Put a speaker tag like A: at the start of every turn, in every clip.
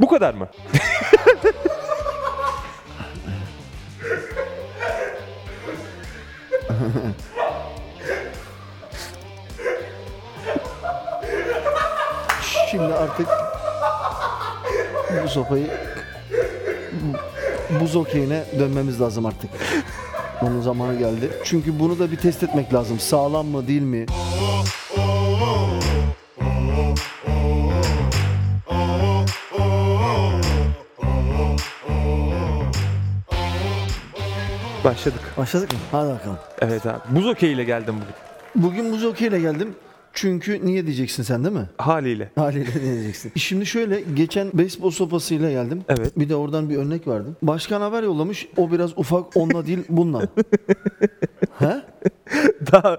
A: kadar mı?
B: Şimdi artık bu sopayı buz okeyine dönmemiz lazım artık. Bunun zamanı geldi. Çünkü bunu da bir test etmek lazım. Sağlam mı değil mi?
A: Başladık.
B: Başladık mı? Hadi bakalım.
A: Evet abi. Buz okeyiyle geldim bugün.
B: Bugün buz okeyle geldim. Çünkü niye diyeceksin sen değil mi?
A: Haliyle.
B: Haliyle diyeceksin. Şimdi şöyle geçen beyzbol sopasıyla geldim.
A: Evet.
B: Bir de oradan bir örnek verdim. Başkan haber yollamış. O biraz ufak onunla değil bununla. He?
A: Daha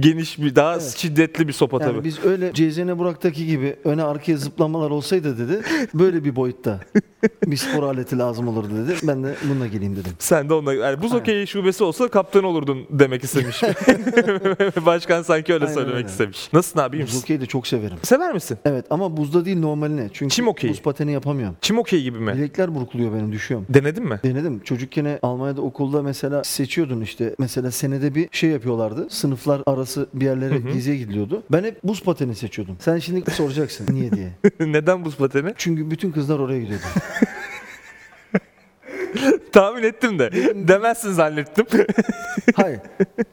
A: geniş bir, daha şiddetli bir sopa
B: Yani
A: tabii.
B: biz öyle Cezene Burak'taki gibi öne arkaya zıplamalar olsaydı dedi. Böyle bir boyutta bir spor aleti lazım olurdu dedi. Ben de bununla geleyim dedim.
A: Sen de onunla, yani buz okeyi şubesi olsa kaptan olurdun demek istemiş. Başkan sanki öyle
B: Aynen
A: söylemek
B: öyle.
A: istemiş. Nasılsın abi? iyi
B: Buz
A: misin?
B: okeyi de çok severim.
A: Sever misin?
B: Evet ama buzda değil normaline. Çünkü
A: Çim okeyi.
B: buz pateni yapamıyorum.
A: Çim okeyi gibi mi?
B: Bilekler burkuluyor benim düşüyorum.
A: Denedin mi?
B: Denedim. Çocukken Almanya'da okulda mesela seçiyordun işte. Mesela senede bir şey yapıyorlardı. Sınıflar arası bir yerlere geziye gidiliyordu. Ben hep buz pateni seçiyordum. Sen şimdi soracaksın niye diye.
A: Neden buz pateni?
B: Çünkü bütün kızlar oraya gidiyordu.
A: Tahmin ettim de. Demezsin zannettim.
B: Hayır.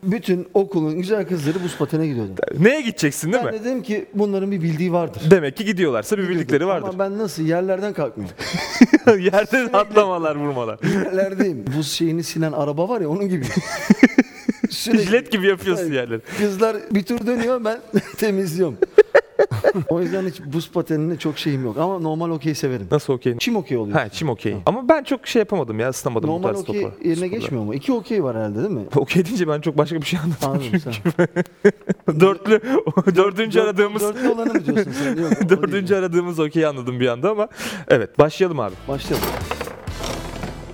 B: Bütün okulun güzel kızları buz patene gidiyordu.
A: Neye gideceksin değil
B: Ben
A: mi?
B: dedim ki bunların bir bildiği vardır.
A: Demek ki gidiyorlarsa bir bildikleri vardır.
B: Ama ben nasıl yerlerden kalkmıyorum.
A: Yerden atlamalar, vurmalar.
B: Yerlerdeyim. Buz şeyini silen araba var ya onun gibi. Sürekli
A: Jilet gibi yapıyorsun
B: Evet.
A: yerleri.
B: Kızlar bir tur dönüyor ben temizliyorum. o yüzden hiç buz patenine çok şeyim yok. Ama normal okey severim.
A: Nasıl okey?
B: Çim okey oluyor.
A: Ha çim okey. Ama ben çok şey yapamadım ya ısınamadım bu
B: normal
A: tarz
B: okey
A: topa.
B: yerine
A: sporlara.
B: geçmiyor mu? İki okey var herhalde değil mi?
A: Okey deyince ben çok başka bir şey anladım.
B: Anladım sen.
A: Dörtlü, dördüncü
B: Dört-
A: aradığımız,
B: Dörtlü olanı mı diyorsun sen? Yok, o
A: dördüncü
B: değil.
A: aradığımız okeyi anladım bir anda ama evet başlayalım abi.
B: Başlayalım.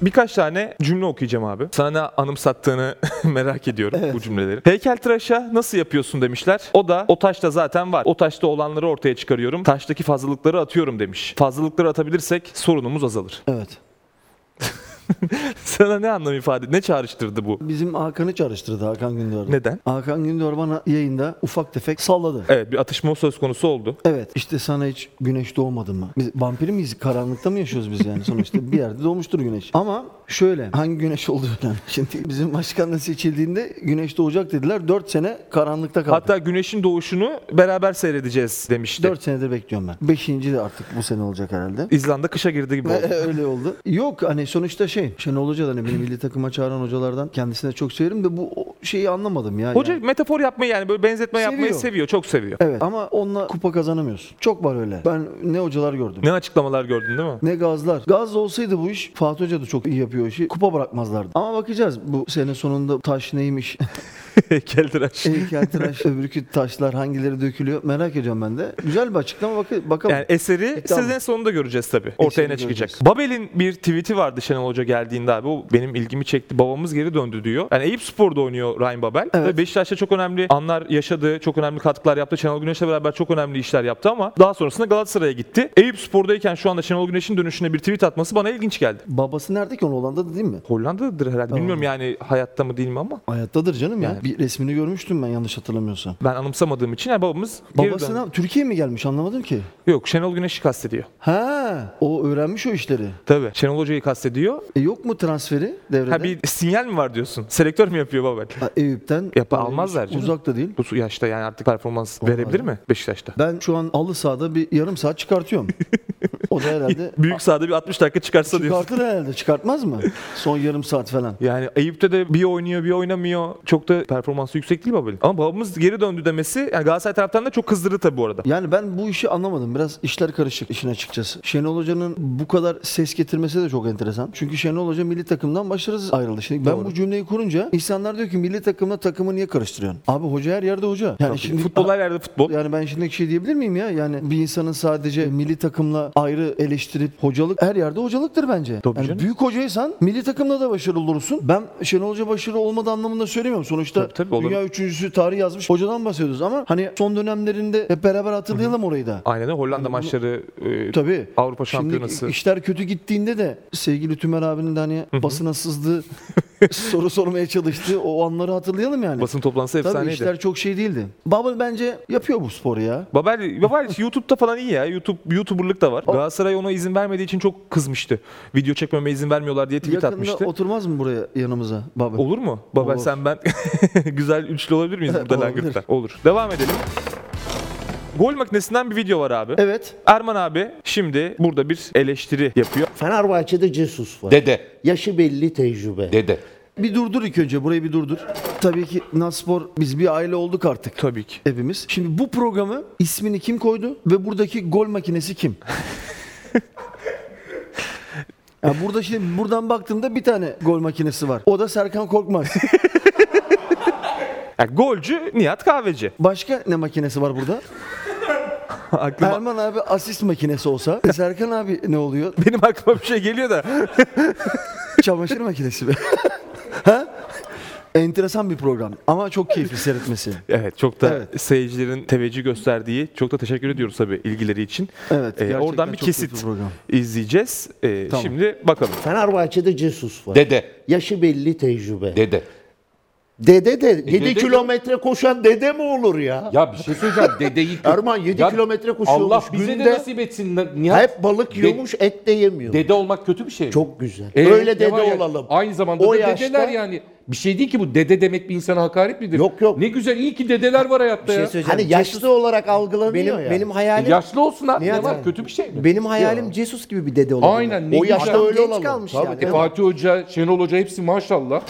A: Birkaç tane cümle okuyacağım abi. Sana ne anımsattığını merak ediyorum bu cümleleri. Heykeltıraşa nasıl yapıyorsun demişler. O da o taşta zaten var. O taşta olanları ortaya çıkarıyorum. Taştaki fazlalıkları atıyorum demiş. Fazlalıkları atabilirsek sorunumuz azalır.
B: Evet.
A: Sana ne anlam ifade, ne çağrıştırdı bu?
B: Bizim Hakan'ı çağrıştırdı Hakan Gündoğar.
A: Neden?
B: Hakan Gündoğar bana yayında ufak tefek salladı.
A: Evet bir atışma söz konusu oldu.
B: Evet işte sana hiç güneş doğmadı mı? Biz vampir miyiz? Karanlıkta mı yaşıyoruz biz yani sonuçta? Bir yerde doğmuştur güneş. Ama şöyle hangi güneş oldu önemli. Şimdi bizim başkanla seçildiğinde güneş doğacak dediler. 4 sene karanlıkta kaldı.
A: Hatta güneşin doğuşunu beraber seyredeceğiz demişti.
B: 4 senedir bekliyorum ben. 5. de artık bu sene olacak herhalde.
A: İzlanda kışa girdi gibi oldu.
B: Öyle oldu. Yok hani sonuçta şey Şenol Hoca da hani beni milli takıma çağıran hocalardan kendisine çok severim de bu o şeyi anlamadım ya.
A: Hoca
B: Yani-
A: metafor yapmayı yani böyle benzetme yapmayı
B: Seviyor.
A: seviyor, çok seviyor.
B: Evet ama onunla kupa kazanamıyorsun. Çok var öyle. Ben ne hocalar gördüm.
A: Ne açıklamalar gördün değil mi?
B: Ne gazlar. Gaz olsaydı bu iş Fatih Hoca da çok iyi yapıyor işi. Kupa bırakmazlardı. Ama bakacağız bu sene sonunda taş neymiş,
A: Heykeltıraş.
B: heykeltıraş, öbürkü taşlar hangileri dökülüyor merak ediyorum ben de. Güzel bir açıklama bak bakalım.
A: Yani eseri
B: E, tamam.
A: sizin sonunda göreceğiz tabii. Ortaya ne
B: Eseri
A: çıkacak.
B: göreceğiz.
A: Babel'in bir tweet'i vardı Şenol Hoca geldiğinde abi. O benim ilgimi çekti. Babamız geri döndü diyor. Yani Eyüp Spor'da oynuyor Ryan Babel.
B: Evet.
A: Ve Beşiktaş'ta çok önemli anlar yaşadı. Çok önemli katkılar yaptı. Şenol Güneş'le beraber çok önemli işler yaptı ama daha sonrasında Galatasaray'a gitti. Eyüp Spor'dayken şu anda Şenol Güneş'in dönüşüne bir tweet atması bana ilginç geldi.
B: Babası nerede ki onun Hollanda'da değil mi?
A: Hollanda'dadır herhalde. Bilmiyorum yani hayatta mı değil mi ama.
B: Hayattadır canım ya.
A: Yani.
B: Bir resmini görmüştüm ben yanlış hatırlamıyorsam.
A: Ben anımsamadığım için yani babamız geri döndü.
B: Babasına Türkiye mi gelmiş anlamadım ki.
A: Yok Şenol Güneş'i kastediyor.
B: Ha, o öğrenmiş o işleri.
A: Tabii. Şenol Hoca'yı kastediyor.
B: E, yok mu transferi devrede?
A: Ha bir sinyal mi var diyorsun? Selektör mü yapıyor Babel?
B: Ha, Eyüp'ten
A: Yap- almazlar canım.
B: Uzak da değil.
A: Bu yaşta yani artık performans
B: Olmaz
A: verebilir
B: ya.
A: mi Beşiktaş'ta?
B: Ben şu an alı sahada bir yarım saat çıkartıyorum. o da herhalde
A: Büyük sahada bir 60 dakika çıkarsa diyorsun.
B: Çıkartır herhalde çıkartmaz mı? Son yarım saat falan.
A: Yani Eyüp'te de bir oynuyor bir oynamıyor. Çok da performansı yüksek değil Babel'in. Ama babamız geri döndü demesi yani Galatasaray taraftan da çok kızdırdı tabii bu arada.
B: Yani ben bu işi anlamadım. Biraz işler karışık işin açıkçası. Şenol Hoca'nın bu kadar ses getirmesi de çok enteresan. Çünkü Şenol Hoca milli takımdan başarısız ayrıldı. Şimdi ben
A: Doğru.
B: bu cümleyi kurunca insanlar diyor ki milli takımla takımı niye karıştırıyorsun? Abi hoca her yerde hoca. Yani şimdi
A: Futbol her yerde futbol.
B: yani ben şimdi şey diyebilir miyim ya? Yani bir insanın sadece milli takımla ayrı hocaları eleştirip hocalık her yerde hocalıktır bence.
A: Tabii
B: yani
A: canım.
B: büyük hocaysan milli takımda da başarılı olursun. Ben Şenol Hoca başarılı olmadı anlamında söylemiyorum. Sonuçta
A: Tabii, tabii, olabilir.
B: dünya üçüncüsü tarih yazmış hocadan bahsediyoruz ama hani son dönemlerinde hep beraber hatırlayalım orayı da.
A: Aynen öyle. Hollanda maçları, e,
B: Tabii.
A: Avrupa
B: Şimdi
A: Şampiyonası.
B: işler kötü gittiğinde de sevgili Tümer abinin de hani basına sızdığı soru sormaya çalıştığı o anları hatırlayalım yani.
A: basın toplantısı
B: Tabii
A: efsaneydi.
B: işler çok şey değildi. Babel bence yapıyor bu sporu ya.
A: Babel, Babel YouTube'da falan iyi ya. YouTube YouTuber'lık da var. Galatasaray ona izin vermediği için çok kızmıştı. Video çekmeme izin vermiyorlar diye tweet
B: Yakında
A: atmıştı.
B: oturmaz mı buraya yanımıza Babel?
A: Olur mu? Babel
B: Olur.
A: sen ben güzel üçlü olabilir miyiz
B: Evet,
A: burada
B: olabilir.
A: langırtta? Olur. Devam edelim. Gol makinesinden bir video var abi.
B: Evet.
A: Erman abi şimdi burada bir eleştiri yapıyor.
C: Fenerbahçe'de Jesus var.
D: Dede.
C: Yaşı belli tecrübe.
D: Dede.
B: Bir durdur ilk önce. Burayı bir durdur. Tabii ki Naspor biz bir aile olduk artık.
A: Tabii ki.
B: Hepimiz. Şimdi bu programı ismini kim koydu ve buradaki gol makinesi kim? Ya burada şimdi buradan baktığımda bir tane gol makinesi var. O da Serkan Korkmaz.
A: Ya golcü Nihat Kahveci.
B: Başka ne makinesi var burada?
A: Aklıma,
B: Erman abi asist makinesi olsa. E, Serkan abi ne oluyor?
A: Benim aklıma bir şey geliyor da.
B: Çamaşır makinesi mi? ha? Enteresan bir program ama çok keyifli seyretmesi.
A: Evet çok da
B: Evet.
A: seyircilerin teveccüh gösterdiği çok da teşekkür ediyoruz tabii ilgileri için. Ee,
B: Evet, gerçekten
A: oradan bir
B: çok keyifli
A: kesit
B: program.
A: izleyeceğiz. Ee,
B: Tamam.
A: Şimdi bakalım.
C: Fenerbahçe'de Jesus var.
D: Dede.
C: Yaşı belli tecrübe.
D: Dede.
C: dede de 7
D: dede-
C: kilometre koşan dede mi olur ya?
D: Ya bir şey söyleyeceğim. Dedeyi...
C: Erman, yedi
D: Ya
C: kilometre koşuyormuş
D: Allah bize
C: günde.
D: de nasip etsin. lan. Nihat.
C: Hep balık yiyormuş, et de yemiyor.
D: Dede olmak kötü bir şey mi?
C: Çok güzel.
D: Ee,
C: Öyle
D: ne
C: dede
D: var ya?
C: olalım.
D: Aynı zamanda
C: O
D: da
C: yaşta-
D: dedeler yani. Bir şey değil ki bu dede demek bir insana hakaret midir?
C: Yok, yok.
D: Ne güzel iyi ki dedeler var hayatta ya. E,
C: Hani yaşlı olarak algılanıyor
E: şey benim
C: ya.
E: benim hayalim
D: Yaşlı olsun ha. Ne
E: Nihat
D: var
E: abi.
D: kötü bir şey mi?
E: benim hayalim Jesus gibi bir dede olabilir.
D: Aynen, ne
E: o
D: güzel.
E: yaşta öyle
C: Genç
E: olalım.
C: kalmış
E: Tabii
C: yani.
E: ki.
D: E, Fatih Hoca, Şenol Hoca hepsi maşallah.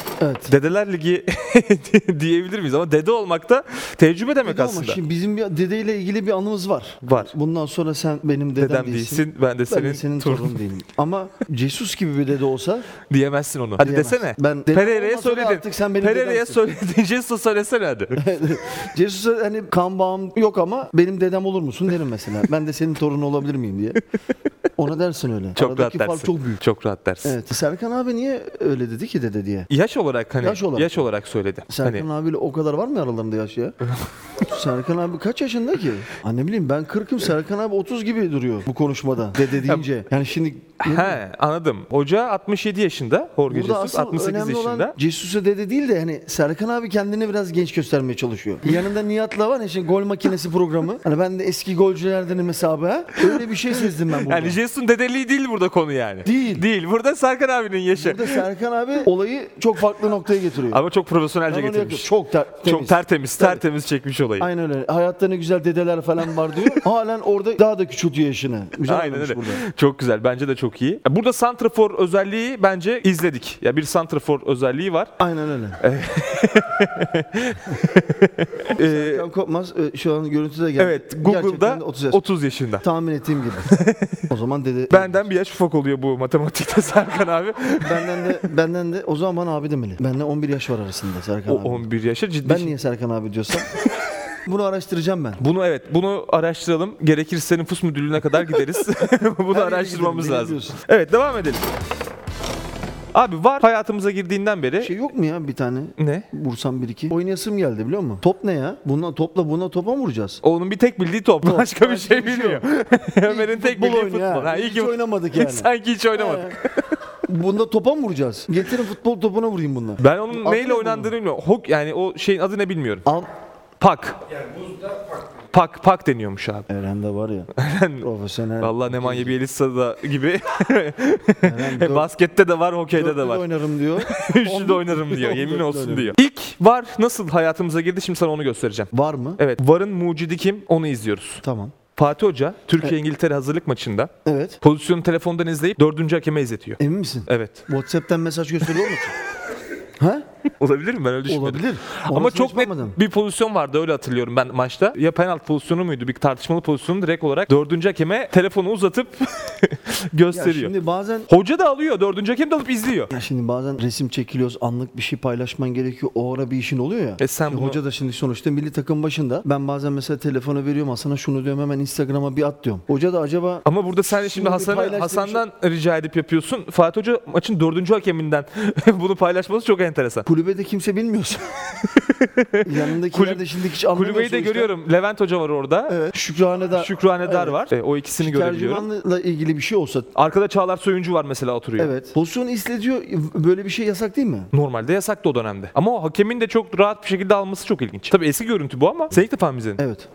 A: Dedeler Ligi diyebilir miyiz ama dede olmak da tecrübe demek
B: Ama
A: aslında.
B: şimdi bizim bir dedeyle ilgili bir anımız var.
A: Var.
B: Bundan sonra sen benim dedem,
A: Dedem
B: değilsin.
A: değilsin, ben de
B: ben
A: senin
B: de senin
A: torun-
B: torunun değilim. Ama Jesus gibi bir dede olsa
A: Diyemezsin onu. Hadi
B: Diyemez.
A: desene.
B: Ben-
A: Pereira'ya
B: Olmasa da
A: söyledin.
B: artık sen benim
A: Pereira'ya
B: dedemsin.
A: söyledin. Jesus'a söylesene hadi.
B: Jesus'a hani kan bağım yok ama benim dedem olur musun derim mesela. Ben de senin torunu olabilir miyim diye. Ona dersin öyle.
A: çok rahat
B: Aradaki fark
A: dersin.
B: çok büyük.
A: rahat dersin.
B: Evet. Serkan abi niye öyle dedi ki dede diye?
A: Yaş olarak hani yaş
B: Yaş
A: olarak,
B: olarak.
A: söyledi.
B: Serkan
A: hani
B: abiyle o kadar var mı aralarında yaş ya? Serkan abi kaç yaşında ki? Anne bileyim ben 40'ım Serkan abi 30 gibi duruyor bu konuşmada dede deyince. Yani şimdi
A: He anladım. Hoca 67 yaşında. Jorge
B: Burada
A: Jesus
B: asıl
A: 68
B: önemli
A: yaşında.
B: olan Jesus'a dede değil de hani Serkan abi kendini biraz genç göstermeye çalışıyor. Yanında Nihat'la var ya şimdi gol makinesi programı. Hani ben de eski golcülerdenim hesabı. Öyle bir şey sezdim ben burada.
A: Yani Jesus'un dedeliği değil burada konu yani.
B: Değil.
A: Değil. Burada Serkan abinin yaşı.
B: Burada Serkan abi olayı çok farklı noktaya getiriyor.
A: Ama çok
B: Ben
A: profesyonelce
B: onu
A: getirmiş.
B: yakın- çok ter- temiz.
A: Çok tertemiz,
B: Tabii.
A: tertemiz çekmiş olayı.
B: Aynen öyle. Hayatta ne güzel dedeler falan var diyor. Halen orada daha da küçültüyor yaşını. Güzel
A: Aynen
B: oynamış
A: öyle.
B: burada.
A: Çok güzel. Bence de çok iyi. Burada santrafor özelliği bence izledik. Ya bir santrafor özelliği var.
B: Aynen öyle. Serkan Kopmaz e, şu an görüntüde geldi.
A: Ee, Evet,
B: Gerçekten
A: Google'da
B: de
A: 30,
B: 30 yaş.
A: yaşında.
B: Tahmin ettiğim gibi. o zaman dede
A: Benden bir yaş ufak oluyor bu matematikte Serkan abi.
B: Benden de benden de o zaman bana abi demeli. Benle 11 yaş var arasında Serkan
A: O
B: abi.
A: 11 yaşa ciddi.
B: Ben niye Serkan abi diyorsam bunu araştıracağım ben.
A: Bunu evet, bunu araştıralım. Gerekirse nüfus müdürlüğüne kadar gideriz. bunu
B: yere
A: araştırmamız
B: gidelim,
A: lazım.
B: biliyorsun.
A: Evet, devam edelim. Abi var hayatımıza girdiğinden beri
B: Şey yok mu ya bir tane?
A: ne?
B: Vursam bir iki. Oynayasım geldi biliyor musun? Top ne ya? Bununla topla buna topa mı vuracağız?
A: Onun bir tek bildiği top. Başka, bir şey
B: bir şey
A: bilmiyor. Ömer'in tek
B: futbol
A: bildiği
B: oyunu
A: futbol.
B: ya.
A: Ha, iyi
B: Hiç
A: ki-
B: oynamadık yani.
A: Sanki hiç oynamadık.
B: Bunda topa mı vuracağız? Getirin futbol topuna vurayım bununla.
A: Ben onun neyle
B: bunu.
A: oynandığını bilmiyorum. Hok yani o şeyin adı ne bilmiyorum.
B: Al.
A: Pak. Pak pak deniyormuş abi.
B: Eren de var ya. profesyonel.
A: Vallahi Nemanja Bielitsa da gibi
B: dört-
A: baskette de var, hokeyde de
B: Dörtlü
A: var.
B: oynarım diyor.
A: Üçlü de oynarım diyor.
B: On
A: Yemin
B: dörtlü
A: olsun
B: oynarım.
A: diyor. İlk var nasıl hayatımıza girdi şimdi sana onu göstereceğim.
B: Var mı?
A: Evet, varın mucidi kim? Onu izliyoruz.
B: Tamam.
A: Fatih Hoca Türkiye İngiltere hazırlık maçında
B: Evet.
A: pozisyonu telefondan izleyip dördüncü hakeme izletiyor.
B: Emin misin?
A: Evet.
B: WhatsApp'ten mesaj gösteriyor musun? ha?
A: Olabilir mi? Ben öyle düşünmedim.
B: Olabilir.
A: Ama
B: Orasını
A: çok
B: hiç
A: net
B: bakmadım.
A: bir pozisyon vardı öyle hatırlıyorum ben maçta. Ya penaltı pozisyonu muydu? Bir tartışmalı pozisyonu direkt olarak dördüncü hakeme telefonu uzatıp
B: Ya
A: gösteriyor.
B: şimdi bazen
A: Hoca da alıyor. Dördüncü hakem de alıp izliyor.
B: ya şimdi bazen resim çekiliyoruz, anlık bir şey paylaşman gerekiyor. O ara bir işin oluyor ya.
A: E sen
B: Şimdi
A: bunu-
B: Hoca da şimdi sonuçta milli takım başında. Ben bazen mesela telefonu veriyorum Hasan'a şunu diyorum hemen Instagram'a bir at diyorum. Hoca da acaba
A: Ama burada sen şimdi,
B: Şimdi şey- bir
A: Hasan'ı
B: paylaştığı
A: Hasan'dan rica edip yapıyorsun. Fatih Hoca maçın dördüncü hakeminden bunu paylaşması çok enteresan.
B: kulübede kimse bilmiyorsa. Yanındakiler
A: Kulüp-
B: de şimdi hiç anlamıyor.
A: Kulübeyi de
B: sonuçta.
A: görüyorum. Levent Hoca var orada.
B: Evet. Şükrane de
A: Şükrane Dar
B: Evet.
A: var. E, o ikisini görebiliyorum.
B: tercümanla ilgili bir şey olsa
A: Arkada Çağlar Soyuncu var mesela oturuyor.
B: evet. Pozisyonu izletiyor. Böyle bir şey yasak değil mi?
A: Normalde yasaktı o dönemde. Ama o hakemin de çok rahat bir şekilde alması çok ilginç. Tabii eski görüntü bu ama sen ilk defa mı izledin?
B: Evet.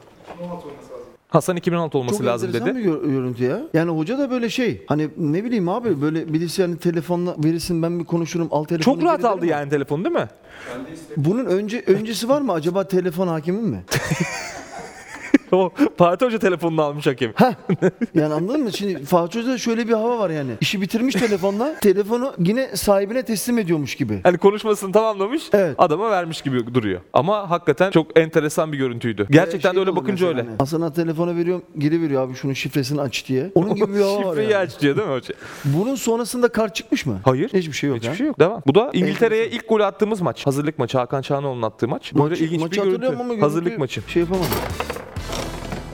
A: Hasan 2016 olması
B: Çok
A: lazım
B: enteresan
A: dedi.
B: bir gör- görüntü ya. Yani hoca da böyle şey. Hani ne bileyim abi böyle birisi hani telefonla verirsin ben bir konuşurum al telefonu.
A: Çok rahat
B: geri
A: aldı
B: derim.
A: yani telefonu değil mi?
B: Bunun önce öncesi var mı acaba telefon hakimin mi?
A: O Fatih Hoca telefonunu almış hakem.
B: Yani anladın mı? Şimdi Fatih Hoca'da şöyle bir hava var yani. İşi bitirmiş telefonla. telefonu yine sahibine teslim ediyormuş gibi.
A: Hani konuşmasını tamamlamış,
B: Evet.
A: adama vermiş gibi duruyor. Ama hakikaten çok enteresan bir görüntüydü. Gerçekten
B: Şey
A: de öyle
B: olur
A: bakınca
B: mesela
A: öyle.
B: hani, Hasan'a telefonu veriyorum geri veriyor abi şunun şifresini aç diye. Onun gibi bir hava var
A: Şifreyi
B: yani.
A: aç diyor değil mi hoca?
B: Bunun sonrasında kar çıkmış mı?
A: Hayır.
B: Hiçbir şey yok.
A: Hiçbir
B: ha?
A: şey yok. Devam. Bu da İngiltere'ye ilk gol attığımız maç. Hazırlık maçı. Hakan Çağanoğlu'nun attığı maç. Böyle
B: Maçı-
A: ilginç
B: maçı
A: bir görüntü.
B: hatırlıyorum ama görüntü-
A: Hazırlık maçı.
B: Şey yapamadım.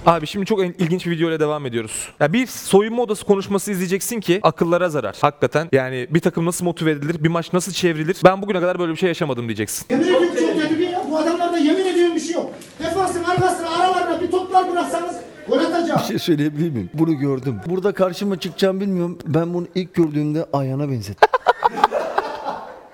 A: Abi şimdi çok en- ilginç bir videoyla devam ediyoruz. Ya bir soyunma odası konuşması izleyeceksin ki akıllara zarar. Hakikaten yani bir takım nasıl motive edilir, bir maç nasıl çevrilir. Ben bugüne kadar böyle bir şey yaşamadım diyeceksin.
F: Yemin ediyorum çok kötü bir bu adamlarda yemin ediyorum bir şey yok. Defansın arkasına aralarına bir toplar bıraksanız gol atacağım.
B: Bir şey söyleyebilir miyim? Bunu gördüm. Burada karşıma çıkacağım bilmiyorum. Ben bunu ilk gördüğümde Ayhan'a benzettim.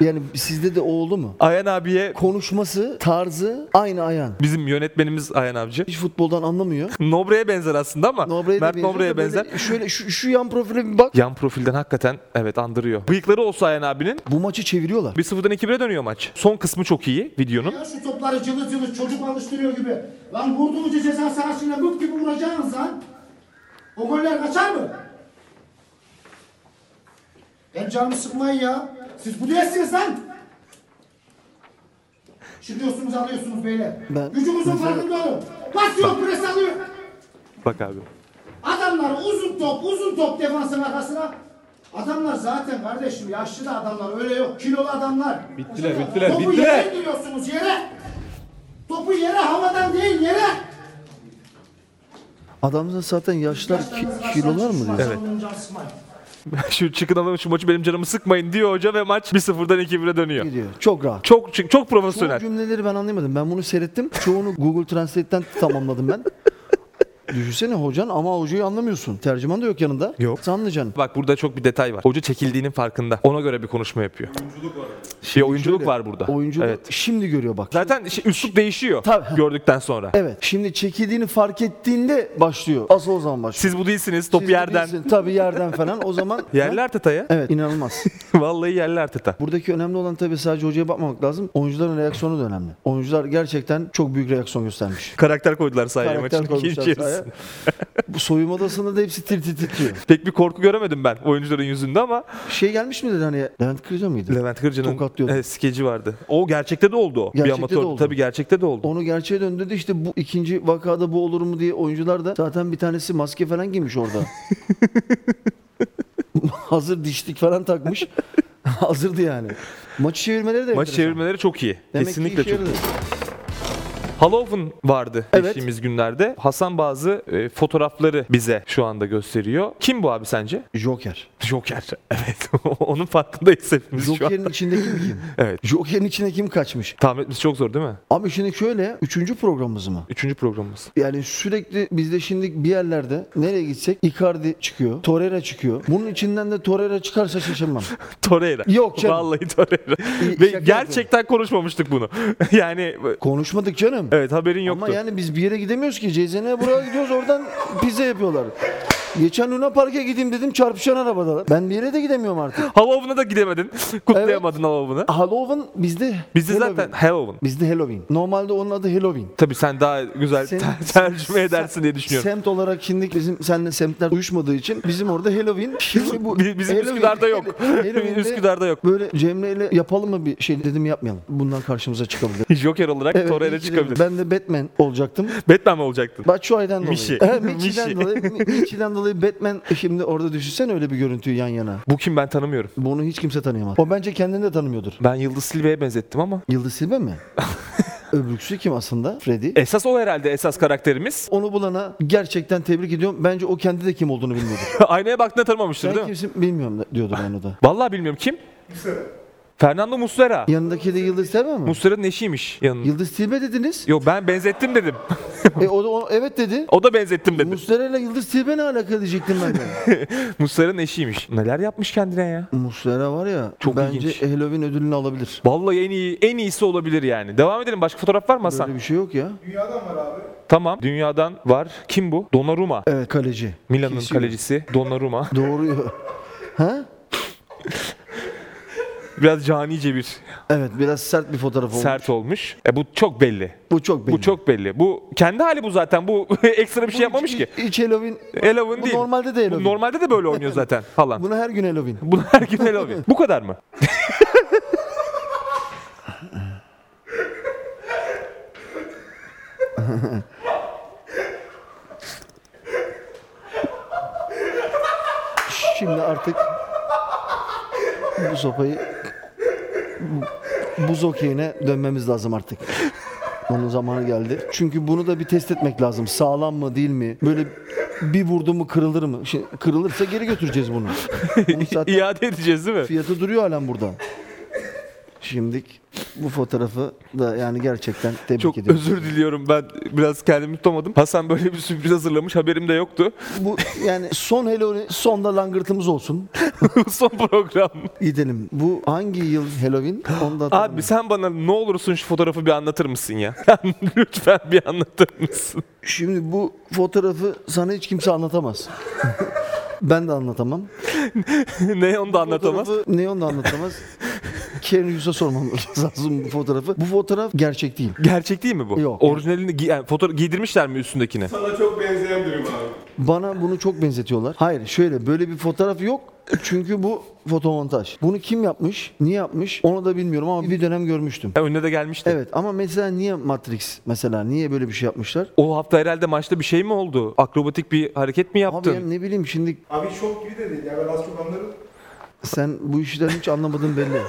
B: yani sizde de o oldu mu?
A: Ayhan abiye
B: Konuşması, tarzı aynı Ayhan.
A: bizim yönetmenimiz Ayhan abici.
B: Hiç futboldan anlamıyor.
A: Nobre'ye benzer aslında ama
B: Nobre'ye de
A: Mert
B: benziyor da
A: Nobre'ye
B: böyle
A: benzer.
B: Şöyle şu, şu yan profile bir bak.
A: Yan profilden hakikaten evet andırıyor. Bıyıkları olsa Ayhan abinin
B: Bu maçı çeviriyorlar.
A: 1-0'dan 2-1'e dönüyor maç. Son kısmı çok iyi videonun.
F: Ya şu topları cılız cılız çocuk alıştırıyor gibi. Lan vurduğunca ceza sahasına mık gibi vuracaksınız lan. O goller kaçar mı? Ben canımı sıkmayın ya. Siz bu değilsiniz lan. Çıkıyorsunuz alıyorsunuz beyler.
B: Ben-
F: Gücümüzün farkında olun. Basıyor pres alıyor.
A: Bak abi.
F: Adamlar uzun top uzun top defansın arkasına. Adamlar zaten kardeşim yaşlı da adamlar öyle yok. Kilolu adamlar.
D: Bittiler, bittiler,
F: Topu
D: bittiler.
F: yere indiriyorsunuz yere. Topu yere havadan değil yere.
B: Adamda zaten yaşlar ki,
F: Yaşlarınızı
B: kilolar
F: aslan
B: mı diyor?
F: çıkmaz, onun canı sıkmayın.
A: şu çıkın alın şu maçı benim canımı sıkmayın diyor hoca ve maç 1-0'dan 2-1'e dönüyor.
B: Gidiyor. Çok rahat.
A: Çok çünkü çok
B: Çoğu
A: profesyonel.
B: cümleleri ben anlayamadım. Ben bunu seyrettim. Çoğunu Google Translate'ten tamamladım ben. Düşünsene hocan ama hocayı anlamıyorsun. Tercüman da yok yanında.
A: Yok.
B: Sen anlayacaksın.
A: Bak burada çok bir detay var. Hoca çekildiğinin farkında. Ona göre bir konuşma yapıyor. Oyunculuk var. Şey oyunculuk
B: Şöyle,
A: var burada.
B: Oyuncu da
A: Evet.
B: şimdi görüyor bak.
A: Zaten şey, üslup değişiyor
B: Tabii.
A: gördükten sonra.
B: Evet. Şimdi çekildiğini fark ettiğinde başlıyor. Asıl o zaman başlıyor.
A: Siz bu değilsiniz. Top
B: Siz de
A: yerden.
B: bilirsin. Tabii yerden falan. O zaman
A: Yerli Arteta'ya.
B: Evet inanılmaz.
A: Vallahi yerli Arteta.
B: Buradaki önemli olan tabii sadece hocaya bakmamak lazım. Oyuncuların reaksiyonu da önemli. Oyuncular gerçekten çok büyük reaksiyon göstermiş.
A: Karakter koydular sahaya
B: Karakter
A: maçın ikinci
B: koymuşlar
A: yarısına.
B: sahaya. Bu soyunma odasında da hepsi tir tir titriyor.
A: Pek bir korku göremedim ben oyuncuların yüzünde ama
B: Şey gelmiş midir hani Levent Kırca mıydı?
A: Levent Kırca'nın
B: Tokatlıyordu.
A: evet, skeci vardı. O gerçekte de oldu o. bir
B: Gerçekte
A: amatör.
B: de oldu.
A: Tabii gerçekte de oldu.
B: Onu gerçeğe döndürdü işte bu ikinci vakada bu olur mu diye oyuncular da zaten bir tanesi maske falan giymiş orada. Hazır dişlik falan takmış. Hazırdı yani. Maçı çevirmeleri de
A: Maç
B: enteresan.
A: çevirmeleri çok iyi.
B: Demek ki
A: Kesinlikle
B: işe
A: çok iyi.
B: yaradı.
A: Haloven vardı
B: Evet.
A: geçtiğimiz günlerde. Hasan bazı e, fotoğrafları bize şu anda gösteriyor. Kim bu abi sence?
B: Joker.
A: Joker. Evet. Onun farkındayız hepimiz şu an.
B: Joker'in içinde kim kim?
A: Evet.
B: Joker'in içine kim kaçmış?
A: Tahmin etmesi çok zor değil mi?
B: Abi şimdi şöyle, üçüncü programımız mı?
A: Üçüncü programımız.
B: Yani sürekli bizde şimdi bir yerlerde nereye gitsek Icardi çıkıyor, Torreira çıkıyor. Bunun içinden de Torreira çıkarsa şaşırmam.
A: Torreira.
B: Yok canım.
A: Vallahi Torreira.
B: İyi,
A: Ve
B: şaka
A: gerçekten konuşmamıştık bunu. yani
B: Konuşmadık canım.
A: evet haberin yoktu.
B: Ama yani biz bir yere gidemiyoruz ki. Cezene buraya gidiyoruz oradan pizza yapıyorlar. Geçen Luna Park'a gideyim dedim çarpışan arabadalar. Ben bir yere de gidemiyorum artık.
A: Halloween'a da gidemedin. Kutlayamadın Halloween'ı.
B: Halloween bizde
A: Bizde
B: Halloween.
A: zaten Halloween.
B: Bizde Halloween. Normalde onun adı Halloween.
A: Tabii sen daha güzel
B: Sen-
A: ter- tercüme edersin diye düşünüyorum.
B: Semt olarak şimdi bizim seninle semtler uyuşmadığı için bizim orada Halloween. Şimdi bu
A: Bi- Bizim
B: Halloween-
A: Üsküdar'da yok.
B: Halloween'de
A: Üsküdar'da yok.
B: Böyle Cemre ile yapalım mı bir şey dedim yapmayalım. Bundan karşımıza çıkabilir.
A: Joker olarak
B: Evet,
A: Torreira
B: iyi ki
A: çıkabilir.
B: dedim. Ben de Batman olacaktım.
A: Batman mi olacaktın?
B: Bak şu aydan dolayı.
A: Mişi.
B: He, Michi'den
A: Mişi.
B: dolayı. Michi'den dolayı Batman şimdi orada düşünsen öyle bir görüntüyü yan yana.
A: Bu kim ben tanımıyorum.
B: Bunu hiç kimse tanıyamaz. O bence kendini de tanımıyordur.
A: Ben Yıldız Silve'ye benzettim ama.
B: Yıldız Silve mi? Öbürküsü kim aslında? Freddy.
A: Esas o herhalde esas karakterimiz.
B: Onu bulana gerçekten tebrik ediyorum. Bence o kendi de kim olduğunu bilmiyordur.
A: Aynaya baktığında tanımamıştır
B: ben
A: değil mi?
B: kimsin bilmiyorum da- diyordur ben o da.
A: Vallahi bilmiyorum kim? Fernando Muslera.
B: Yanındaki de Yıldız Silve mi?
A: Muslera'nın eşiymiş yanında.
B: Yıldız Silve dediniz.
A: Yo ben benzettim dedim.
B: e, o da o- evet dedi.
A: o da benzettim dedi.
B: Muslera ile Yıldız Silve ne alaka diyecektim ben de.
A: Muslera'nın eşiymiş. Neler yapmış kendine ya?
B: Muslera var ya
A: Çok
B: bence
A: ilginç.
B: Halloween ödülünü alabilir.
A: Vallahi en iyi en iyisi olabilir yani. Devam edelim. Başka fotoğraf var mı Hasan?
B: Böyle bir şey yok ya.
A: Tamam. Dünyadan var. Kim bu? Donnarumma.
B: Evet kaleci.
A: Milan'ın
B: Kesiyor.
A: kalecisi Donnarumma.
B: Doğru. ya. ha?
A: Biraz canice bir
B: Evet biraz sert bir fotoğraf olmuş.
A: sert olmuş. E bu çok belli.
B: Bu çok belli.
A: Bu çok belli. Bu kendi hali bu zaten. Bu ekstra bir şey yapmamış ki.
B: Hiç Halloween.
A: Halloween
B: Bu
A: değil.
B: normalde de
A: Bu
B: Halloween.
A: Normalde de böyle oynuyor zaten falan.
B: Bunu her gün Halloween.
A: Bunu her gün Halloween. Bu kadar mı?
B: Şimdi artık bu sopayı bu- buz okeyine dönmemiz lazım artık. Onun zamanı geldi. Çünkü bunu da bir test etmek lazım. Sağlam mı değil mi? Böyle bir vurdu mu kırılır mı? Şimdi kırılırsa geri götüreceğiz bunu. Bunun zaten
A: İade edeceğiz değil mi?
B: fiyatı duruyor halen burada. Şimdilik bu fotoğrafı da yani gerçekten tebrik
A: Çok
B: ediyorum.
A: özür diliyorum ben biraz kendimi tutamadım. Hasan böyle bir sürpriz hazırlamış haberim de yoktu.
B: Bu yani son Halloween, son da langırtımız olsun.
A: Son program.
B: Gidelim. Bu hangi yıl Halloween? Onu da hatırlamıyorum.
A: Abi sen bana ne olursun şu fotoğrafı bir anlatır mısın ya? Lütfen bir anlatır mısın?
B: Şimdi bu fotoğrafı sana hiç kimse anlatamaz. ben de anlatamam.
A: ne onu da anlatamaz.
B: Fotoğrafı Neon da anlatamaz. Keanu Reeves'a sormam lazım bu fotoğrafı. Bu fotoğraf gerçek değil.
A: Gerçek değil mi bu?
B: Yok.
A: Orijinalini gi- yani fotoğraf giydirmişler mi üstündekini?
G: Sana çok benzeyen durum abi.
B: Bana bunu çok benzetiyorlar. Hayır şöyle böyle bir fotoğraf yok. Çünkü bu fotomontaj. Bunu kim yapmış, niye yapmış onu da bilmiyorum ama bir dönem görmüştüm.
A: Ha, önüne de gelmişti.
B: Evet ama mesela niye Matrix mesela niye böyle bir şey yapmışlar?
A: O hafta herhalde maçta bir şey mi oldu? Akrobatik bir hareket mi
B: Abi
A: yaptın?
B: ya ne bileyim şimdi
G: Abi şok gibi de değil ya ben az çok anlarım.
B: sen bu işten hiç anlamadın belli.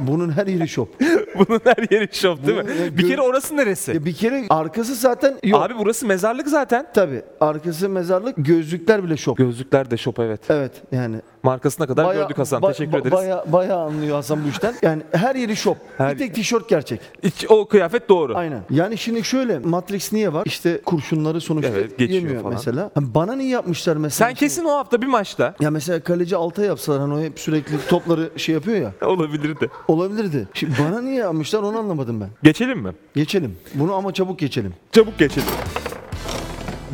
B: Bunun her yeri şop.
A: Bunun her yeri şov değil
B: Bunun- ya
A: mi? Bir
B: gör-
A: kere orası neresi?
B: Ya bir kere arkası zaten yok.
A: Abi burası mezarlık zaten.
B: Tabi arkası mezarlık gözlükler bile şok.
A: Gözlükler de şop evet.
B: Evet yani.
A: Markasına kadar
B: Bayağı-
A: gördük Hasan.
B: ba-
A: Teşekkür
B: ba-
A: ederiz.
B: Bayağı bayağı anlıyor Hasan bu işten. Yani her yeri şop.
A: Her-
B: Bir tek tişört gerçek.
A: İç- o kıyafet doğru.
B: Aynen. Yani şimdi şöyle Matrix niye var? İşte kurşunları sonuçta
A: Evet, geçiyor
B: yemiyor
A: falan.
B: mesela. Hani Bana niye yapmışlar mesela?
A: Sen
B: şimdi?
A: kesin o hafta bir maçta
B: Ya mesela kaleci alta yapsalar hani o hep sürekli topları şey yapıyor ya.
A: olabilirdi.
B: Olabilirdi. Şimdi bana niye yapmışlar onu anlamadım ben.
A: Geçelim mi?
B: Geçelim. Bunu ama çabuk geçelim.
A: Çabuk geçelim.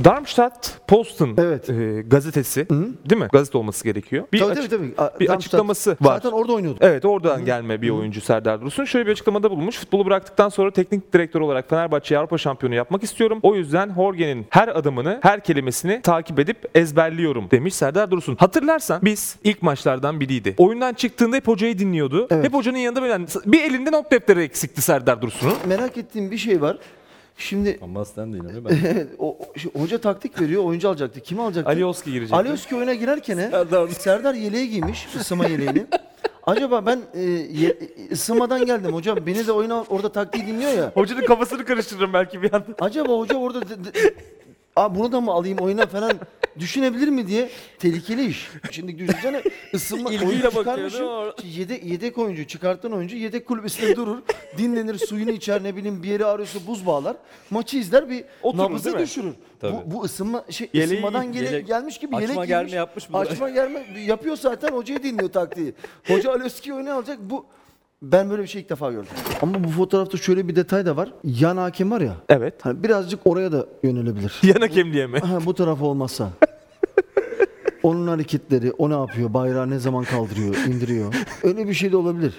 A: Darmstadt Posten
B: Evet.
A: e, gazetesi değil mi? Gazete olması gerekiyor. Bir
B: Tabii,
A: açık-
B: tabii, tabii. A-
A: bir
B: Darmstadt-
A: açıklaması var.
B: Zaten orada oynuyordu.
A: Evet oradan gelme bir oyuncu Serdar Dursun. Şöyle bir açıklamada bulunmuş. Futbolu bıraktıktan sonra teknik direktör olarak Fenerbahçe'yi Avrupa şampiyonu yapmak istiyorum. O yüzden Horgen'in her adımını, her kelimesini takip edip ezberliyorum demiş Serdar Dursun. Hatırlarsan biz ilk maçlardan biriydi. Oyundan çıktığında hep hocayı dinliyordu. Hep hocanın yanında böyle yani bir elinde not defteri eksikti Serdar Dursun'un.
B: Merak ettiğim bir şey var. Şimdi
H: Ama aslen değil öyle ben.
B: Evet, o, o- şu- hoca taktik veriyor, oyuncu alacaktı. Kimi alacaktı?
A: Alioski girecek.
B: Alioski oyuna girerken he, Serdar yeleği giymiş, ısıma yeleğini. Acaba ben e, ye- ısınmadan geldim hocam. Beni de oyuna orada taktiği dinliyor ya.
A: Hocanın kafasını karıştırırım belki bir anda.
B: Acaba hoca orada de- de- Aa, bunu da mı alayım oyuna falan düşünebilir mi diye tehlikeli iş. Şimdi düşünsene ısınma
A: İlgiyle
B: oyuncu
A: bakıyor,
B: çıkarmışsın.
A: değil mi orada?
B: Yedek, yedek oyuncu çıkartan oyuncu yedek kulübesinde durur. Dinlenir suyunu içer ne bileyim bir yere ağrıyorsa buz bağlar. Maçı izler bir
A: Oturur, değil
B: nabızı
A: mi?
B: düşürür.
H: Tabii.
B: Bu, bu ısınma şey
A: Yeleği-
B: ısınmadan gele-
H: yelek-
B: gelmiş gibi
H: Açma
B: yelek giymiş.
H: germe yapmış bu da.
B: Açma germe yapıyor zaten hocayı dinliyor taktiği. Hoca Alöski oyunu alacak bu ben böyle bir şey ilk defa gördüm. Ama bu fotoğrafta şöyle bir detay da var. Yan hakem var ya.
A: Evet.
B: Hani birazcık oraya da yönelebilir.
A: Yana kemliğe mi?
B: Ha, bu taraf olmazsa. Onun hareketleri, o ne yapıyor, bayrağı ne zaman kaldırıyor, indiriyor. Öyle bir şey de olabilir.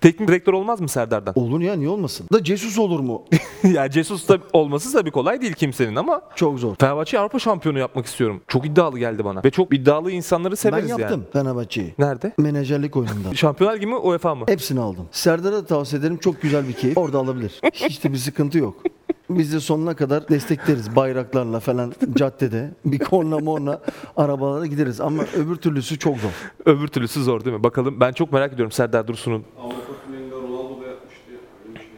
A: Teknik direktör olmaz mı Serdar'dan?
B: Olur ya niye olmasın? Da Cesus olur mu?
A: ya Jesus da olması tabii kolay değil kimsenin ama
B: Çok zor.
A: Fenerbahçe'yi Avrupa şampiyonu yapmak istiyorum. Çok iddialı geldi bana. Ve çok iddialı insanları
B: Ben
A: severiz
B: yaptım Fenerbahçe'yi.
A: yani. Nerede?
B: Menajerlik oyununda.
A: Şampiyonlar Ligi mi UEFA mı?
B: Hepsini aldım. Serdar'a da tavsiye ederim. Çok güzel bir keyif. Orada alabilir. Hiç de bir sıkıntı yok. Biz de sonuna kadar destekleriz bayraklarla falan caddede. Bir korna morna arabalara gideriz. Ama öbür türlüsü çok zor.
A: Öbür türlüsü zor değil mi? Bakalım ben çok merak ediyorum Serdar Dursun'un.
G: Avrupa finalinde Ronaldo da yapmıştı ya. Öyle bir şey.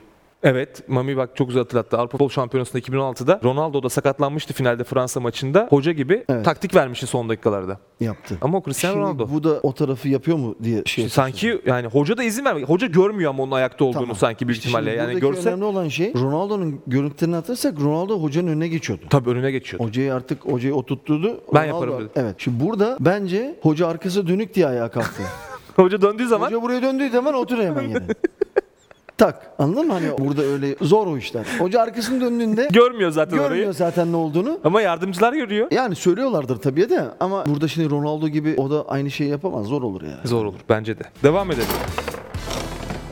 A: Evet Mami bak çok güzel hatırlattı. Avrupa Futbol Şampiyonası'nda 2016'da Ronaldo da sakatlanmıştı finalde Fransa maçında. Hoca gibi
B: Evet.
A: taktik vermişti son dakikalarda.
B: Yaptı.
A: Ama o Cristiano
B: Şimdi
A: Ronaldo.
B: Bu da o tarafı yapıyor mu diye şey.
A: Sanki yani hoca da izin vermiyor. Hoca görmüyor ama onun ayakta olduğunu
B: Tamam.
A: sanki büyük
B: İşte
A: ihtimalle.
B: şimdi
A: Yani
B: buradaki
A: görse
B: önemli olan şey Ronaldo'nun görüntülerini hatırlarsak Ronaldo hocanın önüne geçiyordu.
A: tabii önüne geçiyordu.
B: Hocayı artık hocayı oturtturdu. Ronaldo-
A: yaparım dedi.
B: Evet. Şimdi burada bence hoca arkası dönük diye ayağa kalktı.
A: hoca döndüğü zaman
B: Hoca buraya döndüğü zaman oturuyor hemen yere. tak. Anladın mı? Hani burada öyle zor o işler. Hoca arkasını döndüğünde
A: görmüyor zaten
B: görmüyor
A: orayı.
B: zaten ne olduğunu.
A: Ama yardımcılar görüyor.
B: Yani söylüyorlardır tabii de ama burada şimdi Ronaldo gibi o da aynı şeyi yapamaz. Zor olur yani.
A: Zor olur bence de. Devam edelim.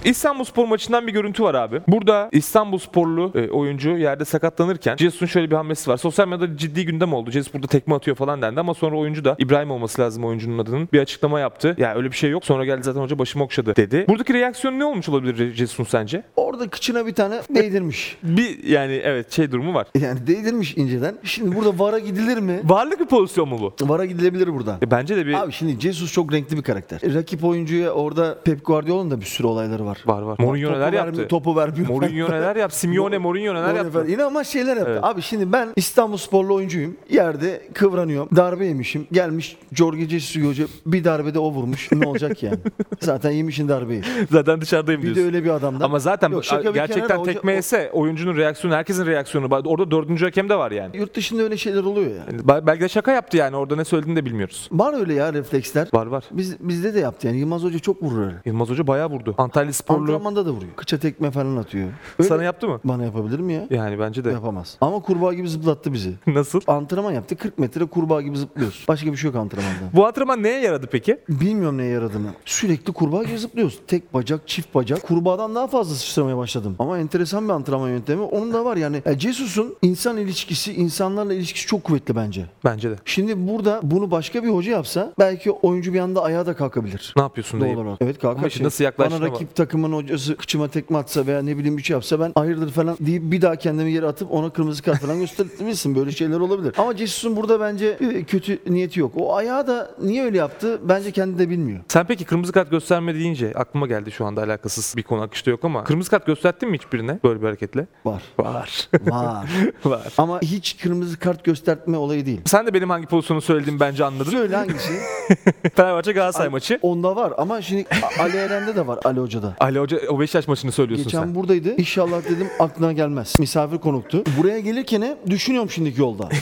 A: İstanbulspor maçından bir görüntü var abi. Burada İstanbulsporlu e, oyuncu yerde sakatlanırken Jesus'un şöyle bir hamlesi var. Sosyal medyada ciddi gündem oldu. Jesus burada tekme atıyor falan dendi ama sonra oyuncu da İbrahim olması lazım oyuncunun adının bir açıklama yaptı. Ya öyle bir şey yok. Sonra geldi zaten hoca başımı okşadı dedi. Buradaki reaksiyon ne olmuş olabilir Jesus'un sence?
B: Orada kıçına bir tane değdirmiş.
A: Bir yani evet şey durumu var.
B: Yani değdirmiş inceden. Şimdi burada VAR'a gidilir mi?
A: Varlık bir pozisyon mu bu?
B: VAR'a gidilebilir burada.
A: E, bence de bir
B: Abi şimdi Jesus çok renkli bir karakter. E, Rakip oyuncuya orada Pep Guardiola'nın da bir sürü olayları var.
A: var var.
B: Topu
A: Mourinho neler
B: vermiyor-
A: yaptı?
B: Topu vermiyor.
A: Mourinho neler yaptı? Simeone Mourinho neler
B: Doğru
A: yaptı?
B: efendim. İnanılmaz şeyler yaptı.
A: Evet.
B: Abi şimdi ben İstanbul sporlu oyuncuyum. Yerde kıvranıyorum. Darbe yemişim. Gelmiş Jorge Jesus Hoca bir darbede o vurmuş. Ne olacak yani? Zaten yemişin darbeyi.
A: Zaten dışarıdayım
B: Bir
A: diyorsun.
B: de öyle bir adamdan.
A: Ama zaten
B: Yok,
A: bu-
B: şaka bir
A: gerçekten
B: kenara,
A: tekme
B: hoca-
A: tekmeyse oyuncunun reaksiyonu, herkesin reaksiyonu. Ba- Orada dördüncü hakem de var yani.
B: o- Yurt dışında öyle şeyler oluyor yani.
A: Ba- Belki de şaka yaptı yani orada ne söylediğini de bilmiyoruz.
B: Var öyle ya refleksler.
A: Var var.
B: Biz, bizde de yaptı yani. Yılmaz Hoca çok vurur öyle.
A: Yılmaz Hoca bayağı vurdu. Antalya Sporlu
B: Antrenmanda da vuruyor. Kıça tekme falan atıyor. Öyle-
A: sana yaptı mı?
B: Bana yapabilir mi ya?
A: Yani bence de.
B: Yapamaz. Ama kurbağa gibi zıplattı bizi.
A: Nasıl?
B: Antrenman yaptı. 40 metre kurbağa gibi zıplıyoruz. Başka bir şey yok antrenmanda.
A: Bu antrenman neye yaradı peki?
B: Bilmiyorum neye yaradığını. Sürekli kurbağa gibi zıplıyoruz. Tek bacak, çift bacak. Kurbağadan daha fazla sıçramaya başladım. Ama enteresan bir antrenman yöntemi. Onun da var yani. E, Jesus'un insan ilişkisi, insanlarla ilişkisi çok kuvvetli bence.
A: Bence de.
B: Şimdi burada bunu başka bir hoca yapsa belki oyuncu bir anda ayağa da kalkabilir.
A: Ne yapıyorsun
B: Doğal
A: deyip.
B: olarak. Evet kalkar.
A: Ama işte
B: Şey,
A: nasıl yaklaştığına
B: Bana rakip takımın hocası kıçıma tekme atsa veya ne bileyim bir şey yapsa ben hayırdır falan deyip bir daha kendimi yere atıp ona kırmızı kart falan gösterebilirsin. Böyle şeyler olabilir. Ama Jesus'un burada bence e, kötü niyeti yok. O ayağı da niye öyle yaptı bence kendi de bilmiyor.
A: Sen peki kırmızı kart gösterme deyince aklıma geldi şu anda alakasız bir konu akışta yok ama kırmızı kart gösterdin mi hiçbirine böyle bir hareketle?
B: Var.
A: Var.
B: Var.
A: Var.
B: Ama hiç kırmızı kart göstertme olayı değil.
A: Sen de benim hangi pozisyonu söylediğimi bence anladın.
B: Söyle hangisi?
A: Fenerbahçe Galatasaray maçı.
B: Onda var ama şimdi Ali Eren'de de var Ali Hoca'da.
A: Ali Hoca o Beşiktaş maçını söylüyorsun
B: Geçen
A: sen.
B: buradaydı. İnşallah dedim aklına gelmez. Misafir konuktu. Buraya gelirken he, düşünüyorum şimdiki yolda.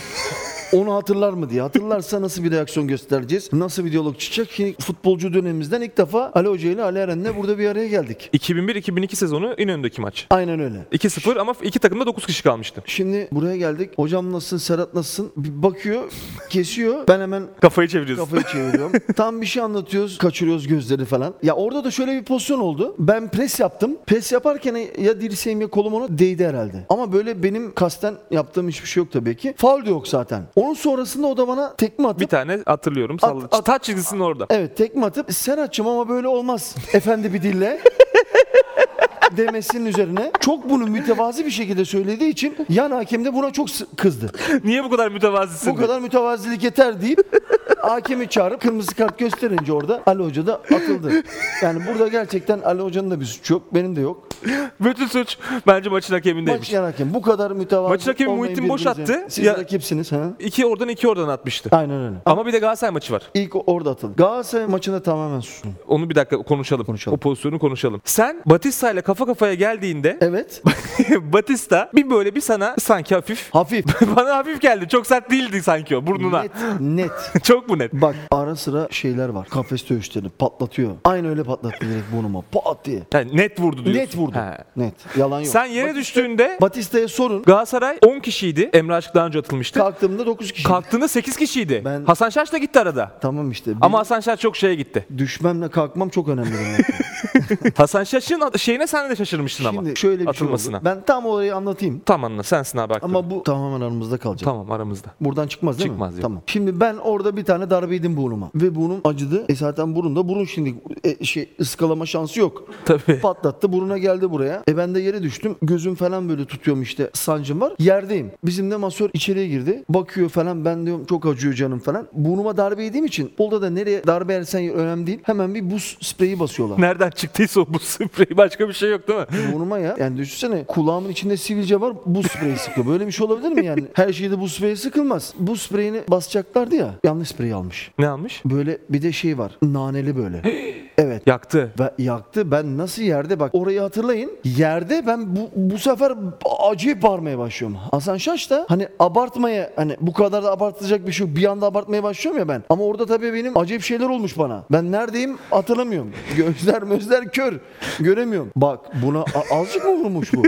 B: Onu hatırlar mı diye. Hatırlarsa nasıl bir reaksiyon göstereceğiz? Nasıl bir diyalog çıkacak? Şimdi futbolcu dönemimizden ilk defa Ali Hoca ile Ali Eren'le burada bir araya geldik.
A: 2001-2002 sezonu İnönü'ndeki maç.
B: Aynen öyle.
A: 2-0 ama iki takımda 9 kişi kalmıştı.
B: Şimdi buraya geldik. Hocam nasılsın? Serhat nasılsın? Bir bakıyor, kesiyor. Ben hemen
A: Kafayı çeviriyorsun.
B: Kafayı çeviriyorum. Tam bir şey anlatıyoruz. Kaçırıyoruz gözleri falan. Ya orada da şöyle bir pozisyon oldu. Ben pres yaptım. Pres yaparken ya dirseğim ya kolum ona değdi herhalde. Ama böyle benim kasten yaptığım hiçbir şey yok tabii ki. Faul de yok zaten. Onun sonrasında o da bana tekme atıp
A: Bir tane hatırlıyorum.
B: At-
A: Salla.
B: at-
A: Taç çizgisinin orada.
B: Evet tekme atıp Serhat'cığım ama böyle olmaz. Efendi bir dille. demesinin üzerine çok bunu mütevazi bir şekilde söylediği için yan hakem de buna çok sı- kızdı.
A: Niye bu kadar mütevazisin?
B: Bu kadar mütevazilik yeter deyip hakemi çağırıp kırmızı kart gösterince orada Ali Hoca da atıldı. Yani burada gerçekten Ali Hoca'nın da bir suçu yok. Benim de yok.
A: Bütün suç bence maçın
B: Maç
A: hakemindeymiş.
B: yan hakem. Bu kadar mütevazi
A: Maçın hakemi
B: olmayın
A: Muhittin Boş
B: birbirinize.
A: attı.
B: Siz
A: Ya-
B: rakipsiniz. Ha?
A: İki oradan iki oradan atmıştı.
B: Aynen öyle.
A: Ama bir de Galatasaray maçı var.
B: İlk o- orada atıldı. Galatasaray maçında tamamen sustum.
A: Onu bir dakika konuşalım.
B: Konuşalım.
A: O pozisyonu konuşalım. Sen Batista ile kafa kafaya geldiğinde
B: Evet.
A: Batista bir böyle bir sana sanki hafif
B: Hafif.
A: bana hafif geldi. Çok sert değildi sanki o burnuna.
B: net. Net.
A: Çok mu net?
B: Bak ara sıra şeyler var. Kafes dövüşleri patlatıyor. Aynı öyle patlattı direkt burnuma. Pat diye.
A: Yani net vurdu diyorsun.
B: Net vurdu. vurdu.
A: He.
B: Net. Yalan yok.
A: Sen yere düştüğünde
B: Batista'ya sorun.
A: Galatasaray 10 kişiydi. Emre Aşık daha önce atılmıştı.
B: Kalktığımda 9 kişi.
A: Kalktığında 8 kişiydi.
B: Ben-
A: Hasan Şaş da gitti arada.
B: Tamam işte. Benim
A: Ama Hasan Şaş çok şeye gitti.
B: düşmemle kalkmam çok önemli. benim için.
A: Hasan Şaş'ın at- şeyine sen de şaşırmıştın ama.
B: Şimdi şöyle bir şey
A: atılmasına.
B: oldu. Ben tam orayı anlatayım.
A: Tam anla sensin abi haklı.
B: Ama bu tamamen aramızda kalacak.
A: Tamam aramızda.
B: Buradan çıkmaz değil
A: Çıkmaz,
B: mi?
A: yok.
B: Tamam. Şimdi ben orada bir tane darbe yedim burnuma. Ve burnum acıdı. E zaten burunda burun şimdi e, şey ıskalama şansı yok.
A: Tabii.
B: Patlattı buruna geldi buraya. E ben de yere düştüm. Gözüm falan böyle tutuyorum işte sancım var. Yerdeyim. Bizim de masör içeriye girdi. Bakıyor falan ben diyorum çok acıyor canım falan. Burnuma darbe yediğim için olda da nereye darbe yersen önemli değil. Hemen bir buz spreyi basıyorlar.
A: Nereden çıktıysa o bu spreyi başka bir şey yok değil mi?
B: Burnuma ya. Yani düşünsene kulağımın içinde sivilce var buz spreyi sıkıyor. Böyle bir şey olabilir mi yani? Her şeyde buz spreyi sıkılmaz. Buz spreyini basacaklardı ya. Yanlış spreyi almış.
A: Ne almış?
B: Böyle bir de şey var. Naneli böyle. evet.
A: Yaktı.
B: Ve yaktı. Ben nasıl yerde bak orayı hatırlayın. Yerde ben bu, bu sefer acayip bağırmaya başlıyorum. Hasan Şaş da hani abartmaya hani bu kadar da abartılacak bir şey yok. Bir anda abartmaya başlıyorum ya ben. Ama orada tabii benim acayip şeyler olmuş bana. Ben neredeyim hatırlamıyorum. Gözler mözler kör. Göremiyorum. Bak buna a- azıcık mı vurmuş bu?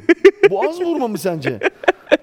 B: Bu az vurma mı sence?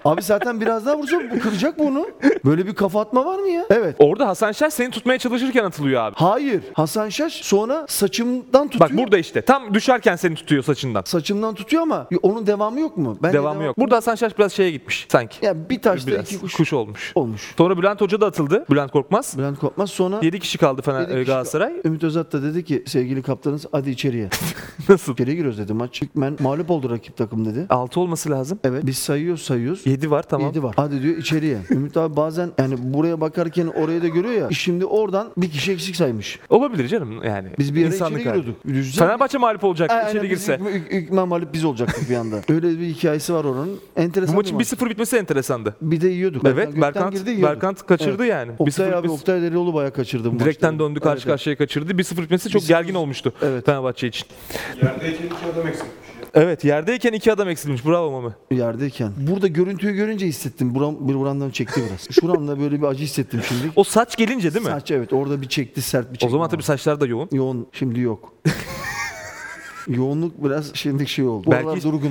B: Abi zaten biraz daha vursa bu kıracak bunu. Böyle bir kafa atma var mı ya? Evet.
A: Orada Hasan Şaş seni tutmaya çalışırken atılıyor abi.
B: Hayır. Hasan Şaş sonra saçımdan tutuyor.
A: Bak burada işte. Tam düşerken seni tutuyor saçından.
B: saçımdan tutuyor ama ya onun devamı yok mu? Ben
A: Devamı yok. Burada Hasan Şaş biraz şeye gitmiş sanki.
B: Ya bir taşta
A: Biraz
B: iki
A: kuş.
B: kuş,
A: olmuş.
B: olmuş.
A: Sonra Bülent Hoca da atıldı. Bülent Korkmaz.
B: Bülent Korkmaz sonra
A: 7 kişi kaldı Fener
B: Dedi ki
A: e,
B: işte,
A: Galatasaray.
B: Ümit Özat da dedi ki sevgili kaptanınız hadi içeriye.
A: Nasıl?
B: İçeriye giriyoruz dedi maç. Hükmen mağlup oldu rakip takım dedi.
A: 6 olması lazım.
B: Evet biz sayıyoruz sayıyoruz.
A: 7 var tamam.
B: 7 var. Hadi diyor içeriye. Ümit abi bazen yani buraya bakarken orayı da görüyor ya. Şimdi oradan bir kişi eksik saymış.
A: Olabilir canım yani.
B: Biz bir yere
A: İnsanlık
B: içeri
A: hali.
B: giriyorduk. Düzce-
A: Fenerbahçe mağlup olacak
B: Aynen,
A: içeri
B: biz
A: girse.
B: hükmen- hük- Hükmen mağlup biz olacaktık bir anda. Öyle bir hikayesi var onun. Enteresan
A: Bu maçın
B: bir,
A: 1-0 bitmesi enteresandı.
B: maç. bir de yiyorduk.
A: Evet
B: Gökten
A: Berkant,
B: girdi, yiyorduk.
A: Berkant kaçırdı
B: Evet.
A: yani.
B: Oktay
A: 1-0
B: abi
A: bitmesi-
B: Oktay Derioğlu bayağı kaçırdı bu
A: Direkten
B: maçta.
A: döndü karşı
B: Evet,
A: karşıya kaçırdı. 1-0 bitmesi çok gergin olmuştu
B: Evet.
A: Fenerbahçe için.
G: Yerdeyken iki adam eksikmiş ya.
A: Evet yerdeyken iki adam eksilmiş. Bravo Mami.
B: evet. Yerdeyken. Burada görüntüyü görünce hissettim. Buram, bir buramdan çekti biraz. Şuramda böyle bir acı hissettim şimdi.
A: O saç gelince değil mi?
B: Saç evet orada bir çekti sert bir çekti.
A: o zaman tabii saçlar da yoğun.
B: Yoğun şimdi yok. Yoğunluk biraz şimdi şey oldu.
A: Belki-
B: Oralar durgun.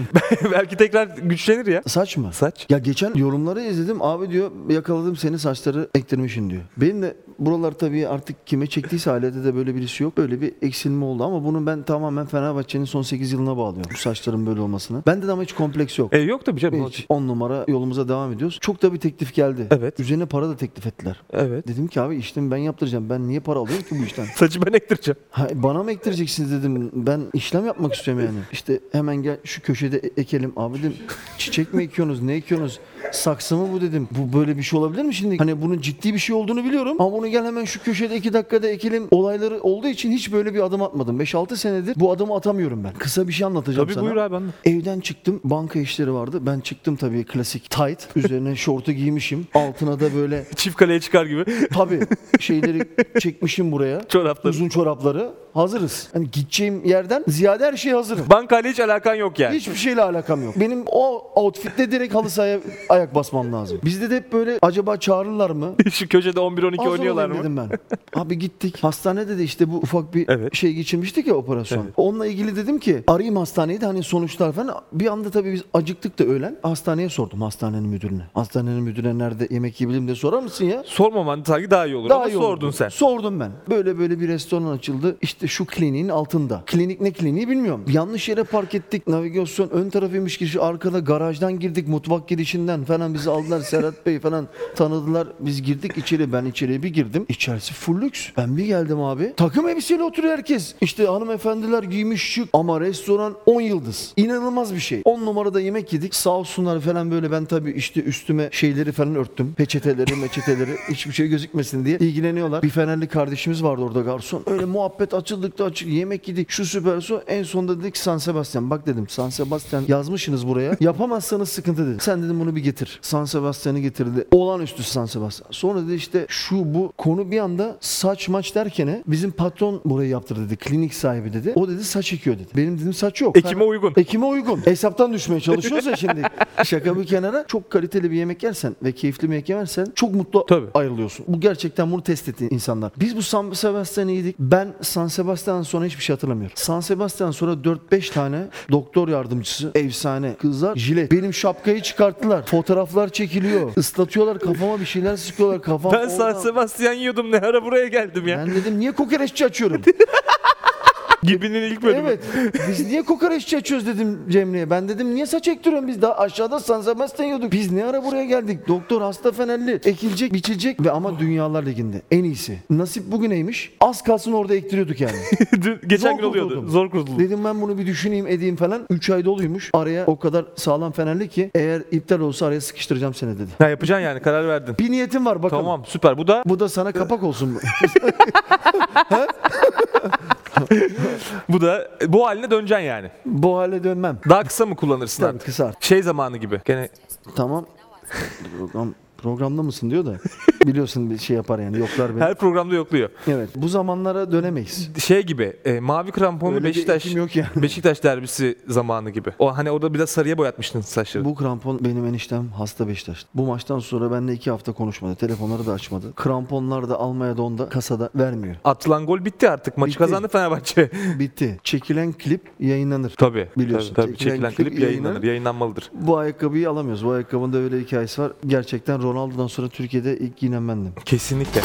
A: Belki tekrar güçlenir ya.
B: Saç mı?
A: Saç.
B: Ya geçen yorumları izledim. Abi diyor yakaladım seni saçları ektirmişin diyor. Benim de buralar tabii artık kime çektiyse ailede de böyle birisi yok. Böyle bir eksilme oldu ama bunu ben tamamen Fenerbahçe'nin son 8 yılına bağlıyorum. Bu saçların böyle olmasını. Bende de ama hiç kompleks yok.
A: E yok tabii canım.
B: Hiç. 10 numara yolumuza devam ediyoruz. Çok da bir teklif geldi.
A: Evet.
B: Üzerine para da teklif ettiler.
A: Evet.
B: Dedim ki abi işlemi ben yaptıracağım. Ben niye para alıyorum ki bu işten?
A: Saçı ben ektireceğim.
B: Ha, bana mı ektireceksiniz dedim. Ben işlem yapmak istiyorum yani. İşte hemen gel şu köşede e- ekelim. Abi dedim çiçek mi ekiyorsunuz ne ekiyorsunuz? Saksı mı bu dedim. Bu böyle bir şey olabilir mi şimdi? Hani bunun ciddi bir şey olduğunu biliyorum. Ama bunu gel hemen şu köşede iki dakikada ekelim. Olayları olduğu için hiç böyle bir adım atmadım. 5-6 senedir bu adımı atamıyorum ben. Kısa bir şey anlatacağım
A: Tabii
B: sana.
A: buyur abi anlat.
B: Evden çıktım. Banka işleri vardı. Ben çıktım tabii klasik tight. Üzerine şortu giymişim. Altına da böyle
A: Çift kaleye çıkar gibi.
B: tabii şeyleri çekmişim buraya.
A: Çorapları.
B: Uzun çorapları. Hazırız. Hani gideceğim yerden ziyade her şeye hazırım.
A: Bankayla hiç alakan yok yani.
B: Hiçbir şeyle alakam yok. Benim o outfitle direkt halı sahaya ayak basmam lazım. Bizde de hep böyle acaba çağırırlar mı?
A: Şu köşede 11-12
B: Az
A: oynuyorlar mı?
B: olayım dedim ben. Abi gittik. Hastanede de işte bu ufak bir
A: Evet.
B: şey geçirmiştik ya operasyon. Onunla ilgili dedim ki arayayım hastaneyi de hani sonuçlar falan. Bir anda tabii biz acıktık da öğlen. Hastaneye sordum hastanenin müdürüne. Hastanenin müdürüne nerede yemek yiyebilirim diye sorar mısın ya?
A: Sormaman sanki daha iyi olur ama
B: iyi olurdu.
A: sordun sen.
B: Sordum ben. Böyle böyle bir restoran açıldı. İşte şu kliniğin altında. Klinik ne kliniği bilmiyorum. Yanlış yere park ettik. Navigasyon ön tarafıymış girişi. Arkada garajdan girdik. Mutfak girişinden falan bizi aldılar. Serhat Bey falan tanıdılar. Biz girdik içeri. Ben içeriye bir girdim. İçerisi full lüks. Ben bir geldim abi. Takım elbiseyle oturuyor herkes. İşte hanımefendiler giymiş şık ama restoran 10 yıldız. İnanılmaz bir şey. 10 numarada yemek yedik. Sağ olsunlar falan böyle ben tabii işte üstüme şeyleri falan örttüm. Peçeteleri, meçeteleri hiçbir şey gözükmesin diye ilgileniyorlar. Bir Fenerli kardeşimiz vardı orada garson. Öyle muhabbet açıldıkta açık yemek yedik. Şu süper su en sonunda dedik San Sebastian. Bak dedim San Sebastian yazmışsınız buraya. Yapamazsanız sıkıntı dedi. Sen dedim bunu bir getir. San Sebastian'ı getirdi. Olağanüstü San Sebastian. Sonra dedi işte şu bu konu bir anda saç maç derken bizim patron burayı yaptır dedi. Klinik sahibi dedi. O dedi saç ekiyor dedi. Benim dedim saç yok.
A: Ekime uygun.
B: Ekime uygun. Hesaptan düşmeye çalışıyoruz ya şimdi. Şaka bir kenara. Çok kaliteli bir yemek yersen ve keyifli bir yemek yersen çok mutlu
A: Tabii.
B: ayrılıyorsun. Bu gerçekten bunu test etti insanlar. Biz bu San Sebastian'ı yedik. Ben San Sebastian'dan sonra hiçbir şey hatırlamıyorum. San Sebastian sonra 4-5 tane doktor yardımcısı, efsane kızlar jilet. Benim şapkayı çıkarttılar. Fotoğraflar çekiliyor. Islatıyorlar kafama bir şeyler sıkıyorlar kafam.
A: Ben San
B: oradan-
A: Sebastian yiyordum ne ara buraya geldim ya.
B: Ben dedim niye kokoreççi açıyorum?
A: Gibinin ilk bölümü.
B: Evet. Biz niye kokoreççi açıyoruz dedim Cemre'ye. Ben dedim niye saç ektiriyorsun biz daha aşağıda San Sebastian yiyorduk. Biz ne ara buraya geldik? Doktor hasta fenerli. Ekilecek, biçilecek ve ama Dünyalar Ligi'nde en iyisi. Nasip bugüneymiş. Az kalsın orada ektiriyorduk yani.
A: Dün- Geçen
B: Zor
A: gün oluyordu.
B: kurtuldum.
A: Zor kurtuldum.
B: Dedim ben bunu bir düşüneyim edeyim falan. 3 ay doluymuş. Araya o kadar sağlam fenerli ki eğer iptal olsa araya sıkıştıracağım seni dedi.
A: Ya yapacaksın yani karar verdin.
B: Bir niyetim var bakalım.
A: Tamam süper. Bu da
B: Bu da sana kapak olsun.
A: bu da bu haline döneceksin yani.
B: Bu hale dönmem.
A: Daha kısa mı kullanırsın
B: Tabii
A: artık?
B: kısa artık.
A: Şey zamanı gibi. Gene
B: Tamam. Program, programda mısın diyor da. Biliyorsun bir şey yapar yani yoklar beni.
A: her programda yokluyor.
B: Evet. Bu zamanlara dönemeyiz.
A: Şey gibi e, mavi kramponlu
B: Öyle bir
A: Beşiktaş
B: ekim yok yani.
A: Beşiktaş derbisi zamanı gibi. O hani orada bir de sarıya boyatmıştın saçları.
B: Bu krampon benim eniştem hasta Beşiktaş. Bu maçtan sonra benimle iki hafta konuşmadı. Telefonları da açmadı. Kramponlar da almaya donda kasada vermiyor.
A: Atılan gol bitti artık. Maçı
B: Bitti.
A: kazandı Fenerbahçe.
B: Bitti. Çekilen klip yayınlanır.
A: tabii.
B: Biliyorsun,
A: Tabii, tabii. Çekilen klip yayınlanır.
B: yayınlanır.
A: Yayınlanmalıdır.
B: Bu ayakkabıyı alamıyoruz. Bu ayakkabının da öyle hikayesi var. Gerçekten Ronaldo'dan sonra Türkiye'de ilk giyinen bendim.
A: Kesinlikle.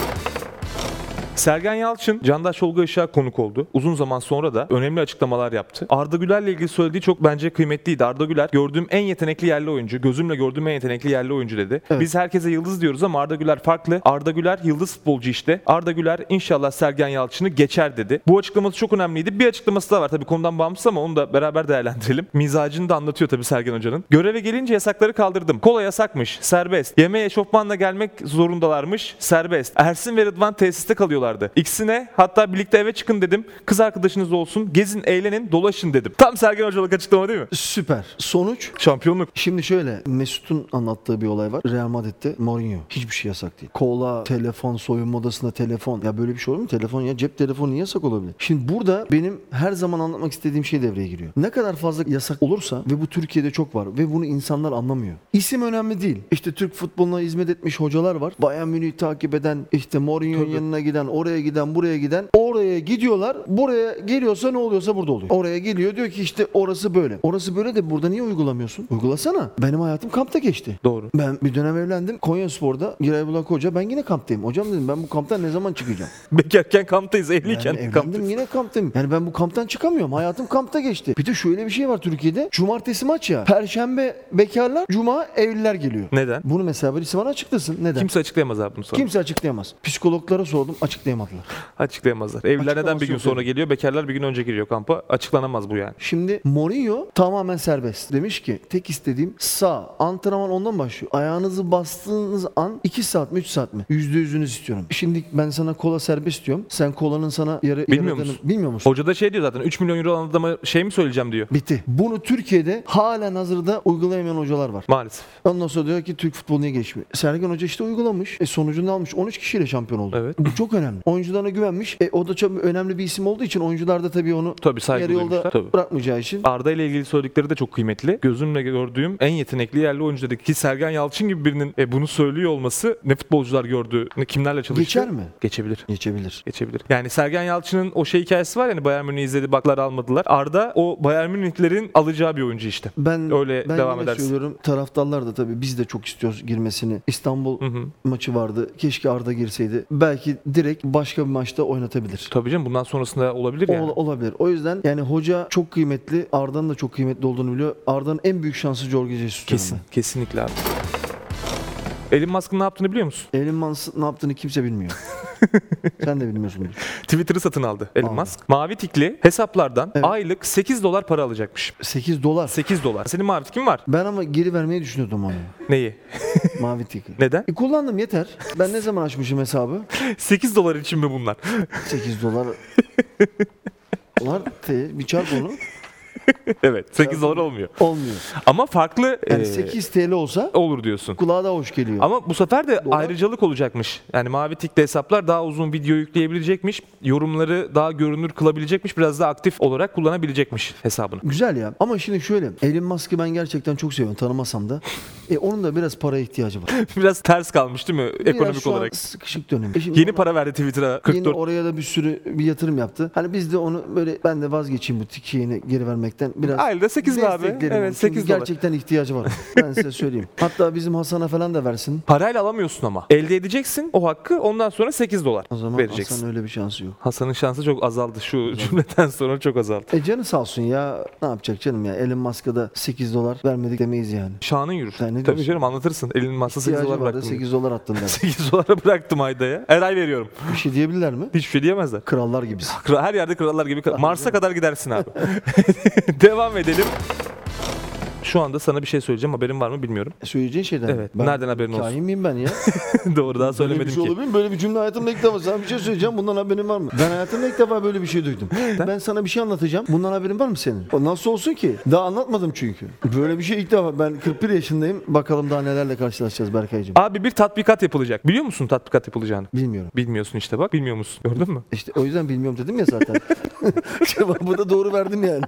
A: Sergen Yalçın, Candaş Olga Işık'a konuk oldu. Uzun zaman sonra da önemli açıklamalar yaptı. Arda Güler'le ilgili söylediği çok bence kıymetliydi. Arda Güler gördüğüm en yetenekli yerli oyuncu, gözümle gördüğüm en yetenekli yerli oyuncu dedi.
B: Evet.
A: Biz herkese yıldız diyoruz ama Arda Güler farklı. Arda Güler yıldız futbolcu işte. Arda Güler inşallah Sergen Yalçın'ı geçer dedi. Bu açıklaması çok önemliydi. Bir açıklaması daha var tabii konudan bağımsız ama onu da beraber değerlendirelim. Mizacını da anlatıyor tabii Sergen Hoca'nın. Göreve gelince yasakları kaldırdım. Kola yasakmış, serbest. Yemeğe eşofmanla gelmek zorundalarmış, serbest. Ersin ve Rıdvan tesiste kalıyorlardı. İkisine hatta birlikte eve çıkın dedim. Kız arkadaşınız olsun, gezin, eğlenin, dolaşın dedim. Tam Sergen Hoca'lık açıklama değil mi?
B: Süper. Sonuç
A: Şampiyonluk.
B: Şimdi şöyle Mesut'un anlattığı bir olay var. Real Madrid'de Mourinho. Hiçbir şey yasak değil. Kola, telefon, soyunma odasında telefon. Ya böyle bir şey olur mu? Telefon ya cep telefonu niye yasak olabilir? Şimdi burada benim her zaman anlatmak istediğim şey devreye giriyor. Ne kadar fazla yasak olursa ve bu Türkiye'de çok var ve bunu insanlar anlamıyor. İsim önemli değil. İşte Türk futboluna hizmet etmiş hocalar var. Bayern Münih'i takip eden, işte Mourinho'nun yanına giden, oraya giden, buraya giden. Oraya gidiyorlar. Buraya geliyorsa ne oluyorsa burada oluyor. Oraya geliyor diyor ki işte orası böyle. Orası böyle de burada niye uygulamıyorsun? Uygulasana. Benim hayatım kampta geçti.
A: Doğru.
B: Ben bir dönem evlendim. Konya Spor'da Giraybulak Hoca ben yine kamptayım. Hocam dedim ben bu kamptan ne zaman çıkacağım?
A: Bekarken kamptayız,
B: Yani
A: evliyken
B: evlendim
A: kamptayız.
B: yine kamptayım. Yani ben bu kamptan çıkamıyorum. Hayatım kampta geçti. Bir de şöyle bir şey var Türkiye'de. Cumartesi maç ya. Perşembe bekarlar, cuma evliler geliyor.
A: Neden?
B: Bunu mesela birisi bana açıklasın. Neden?
A: Kimse açıklayamaz abi bunu sonra.
B: Kimse açıklayamaz. Psikologlara sordum açıklayamadılar.
A: Açıklayamazlar. Evliler neden bir gün
B: yok
A: sonra geliyor, bekarlar bir gün önce giriyor kampa. Açıklanamaz bu yani.
B: Şimdi Mourinho tamamen serbest. Demiş ki tek istediğim sağ. Antrenman ondan başlıyor. Ayağınızı bastığınız an 2 saat mi 3 saat mi? Yüzde yüzünüz istiyorum. Şimdi ben sana kola serbest diyorum. Sen kolanın sana yarı
A: Bilmiyor
B: yaradığını-
A: musun?
B: Bilmiyor musun?
A: Hoca da şey diyor zaten 3 milyon euro alan adama şey mi söyleyeceğim diyor.
B: Bitti. Bunu Türkiye'de halen hazırda uygulayamayan hocalar var.
A: Maalesef.
B: Ondan sonra diyor ki Türk futbolu niye geçmiyor? Sergen Hoca işte uygulamış. E sonucunu almış. 13 kişiyle şampiyon oldu.
A: Evet.
B: Bu çok önemli. Oyuncularına güvenmiş. E o da çok önemli bir isim olduğu için oyuncular da tabii onu
A: Tabii saygı
B: yarı yolda
A: duymuşlar. Tabii.
B: bırakmayacağı için
A: Arda ile ilgili söyledikleri de çok kıymetli. Gözümle gördüğüm en yetenekli yerli oyuncu dedik ki Sergen Yalçın gibi birinin e, bunu söylüyor olması ne futbolcular gördü, ne kimlerle çalıştı.
B: Geçer mi?
A: Geçebilir.
B: geçebilir.
A: Geçebilir. Yani Sergen Yalçın'ın o şey hikayesi var yani Bayern Münih izledi baklar almadılar. Arda o Bayern Münihlerin alacağı bir oyuncu işte.
B: Ben
A: Öyle
B: ben
A: devam
B: yine
A: edersin.
B: söylüyorum. Taraftarlar da tabii biz de çok istiyoruz girmesini. İstanbul maçı vardı. Keşke Arda girseydi. Belki direkt başka bir maçta oynatabilir.
A: Tabii canım bundan sonrasında olabilir yani.
B: Ol- olabilir. O yüzden yani hoca çok kıymetli. Arda'nın da çok kıymetli olduğunu biliyor. Arda'nın en büyük şansı Jorge Jesus. diyorum
A: Kesin. Kesinlikle abi. Elon Musk'ın ne yaptığını biliyor musun?
B: ben. Elon Musk'ın ne yaptığını kimse bilmiyor. Sen de bilmiyorsun.
A: Twitter'ı satın aldı Elon
B: Aldı.
A: Musk. Mavi tikli hesaplardan
B: Evet.
A: aylık 8 dolar para alacakmış.
B: 8 dolar.
A: 8 dolar. Senin mavi tikin var.
B: Ben ama geri vermeyi düşünüyordum onu.
A: Neyi?
B: Mavi tiki.
A: Neden?
B: E kullandım yeter. Ben ne zaman açmışım hesabı?
A: 8 dolar için mi bunlar?
B: 8 dolar. Dolar T bir çarp onu.
A: evet 8 dolar olmuyor.
B: Olmuyor.
A: Ama farklı
B: Yani
A: e,
B: 8 TL olsa
A: olur diyorsun.
B: kulağa da hoş geliyor.
A: Ama bu sefer de ayrıcalık olacakmış. Yani mavi tikli hesaplar daha uzun video yükleyebilecekmiş. Yorumları daha görünür kılabilecekmiş. Biraz daha aktif olarak kullanabilecekmiş hesabını.
B: Güzel ya. Ama şimdi şöyle. Elon Musk'ı ben gerçekten çok seviyorum. Tanımasam da. E, onun da biraz paraya ihtiyacı var.
A: Biraz ters kalmış değil mi
B: Biraz
A: ekonomik
B: şu an
A: olarak?
B: sıkışık dönemi. E şimdi
A: Yeni para verdi Twitter'a
B: Yine
A: 44
B: oraya da bir sürü bir yatırım yaptı. Hani biz de onu böyle ben de vazgeçeyim bu tikiyeni geri vermekten biraz
A: Aylıda 8 lira abi.
B: desteklerim
A: Evet,
B: onu. Çünkü
A: 8 dolar.
B: gerçekten ihtiyacı var. ben size söyleyeyim. Hatta bizim Hasan'a falan da versin.
A: Parayla alamıyorsun ama. Elde edeceksin o hakkı ondan sonra 8 dolar
B: O zaman
A: vereceksin.
B: Hasan'ın öyle bir şansı yok.
A: Hasan'ın şansı çok azaldı şu cümleden sonra çok azaldı.
B: E canı sağ olsun ya. Ne yapacak canım ya? Elon Musk'a da 8 dolar vermedik demeyiz yani.
A: Şanın yürür.
B: Sen ne
A: Tabii
B: diyorsun?
A: canım anlatırsın. Elinin masa 8
B: İhtiyacı
A: dolar
B: var da
A: bıraktım. 8,
B: 8 dolar attın der.
A: dolara bıraktım ayda ya. Her ay veriyorum.
B: bir şey diyebilirler mi?
A: Hiçbir şey diyemezler.
B: Krallar gibisin.
A: Kral- Her yerde krallar gibi. kral- Mars'a kadar gidersin abi. Devam edelim. Şu anda sana bir şey söyleyeceğim. Haberin var mı bilmiyorum.
B: E Söyleyeceğin şeyden.
A: Evet, nereden haberin olsun?
B: Kahin miyim ben ya?
A: Doğru daha
B: Böyle bir
A: söylemedim
B: şey
A: ki.
B: olabilir mi? Böyle bir cümle hayatımda ilk defa. Sana bir şey söyleyeceğim. Bundan haberin var mı? Ben hayatımda ilk defa böyle bir şey duydum. Ben sana bir şey anlatacağım. Bundan haberin var mı senin? O nasıl olsun ki? Daha anlatmadım çünkü. Böyle bir şey ilk defa. Ben 41 yaşındayım. Bakalım daha nelerle karşılaşacağız Berkay'cığım.
A: Abi bir tatbikat yapılacak. Biliyor musun tatbikat yapılacağını?
B: Bilmiyorum.
A: Bilmiyorsun işte bak. Bilmiyor musun? Gördün mü?
B: İşte o yüzden bilmiyorum dedim ya zaten. Cevabı da doğru verdim yani.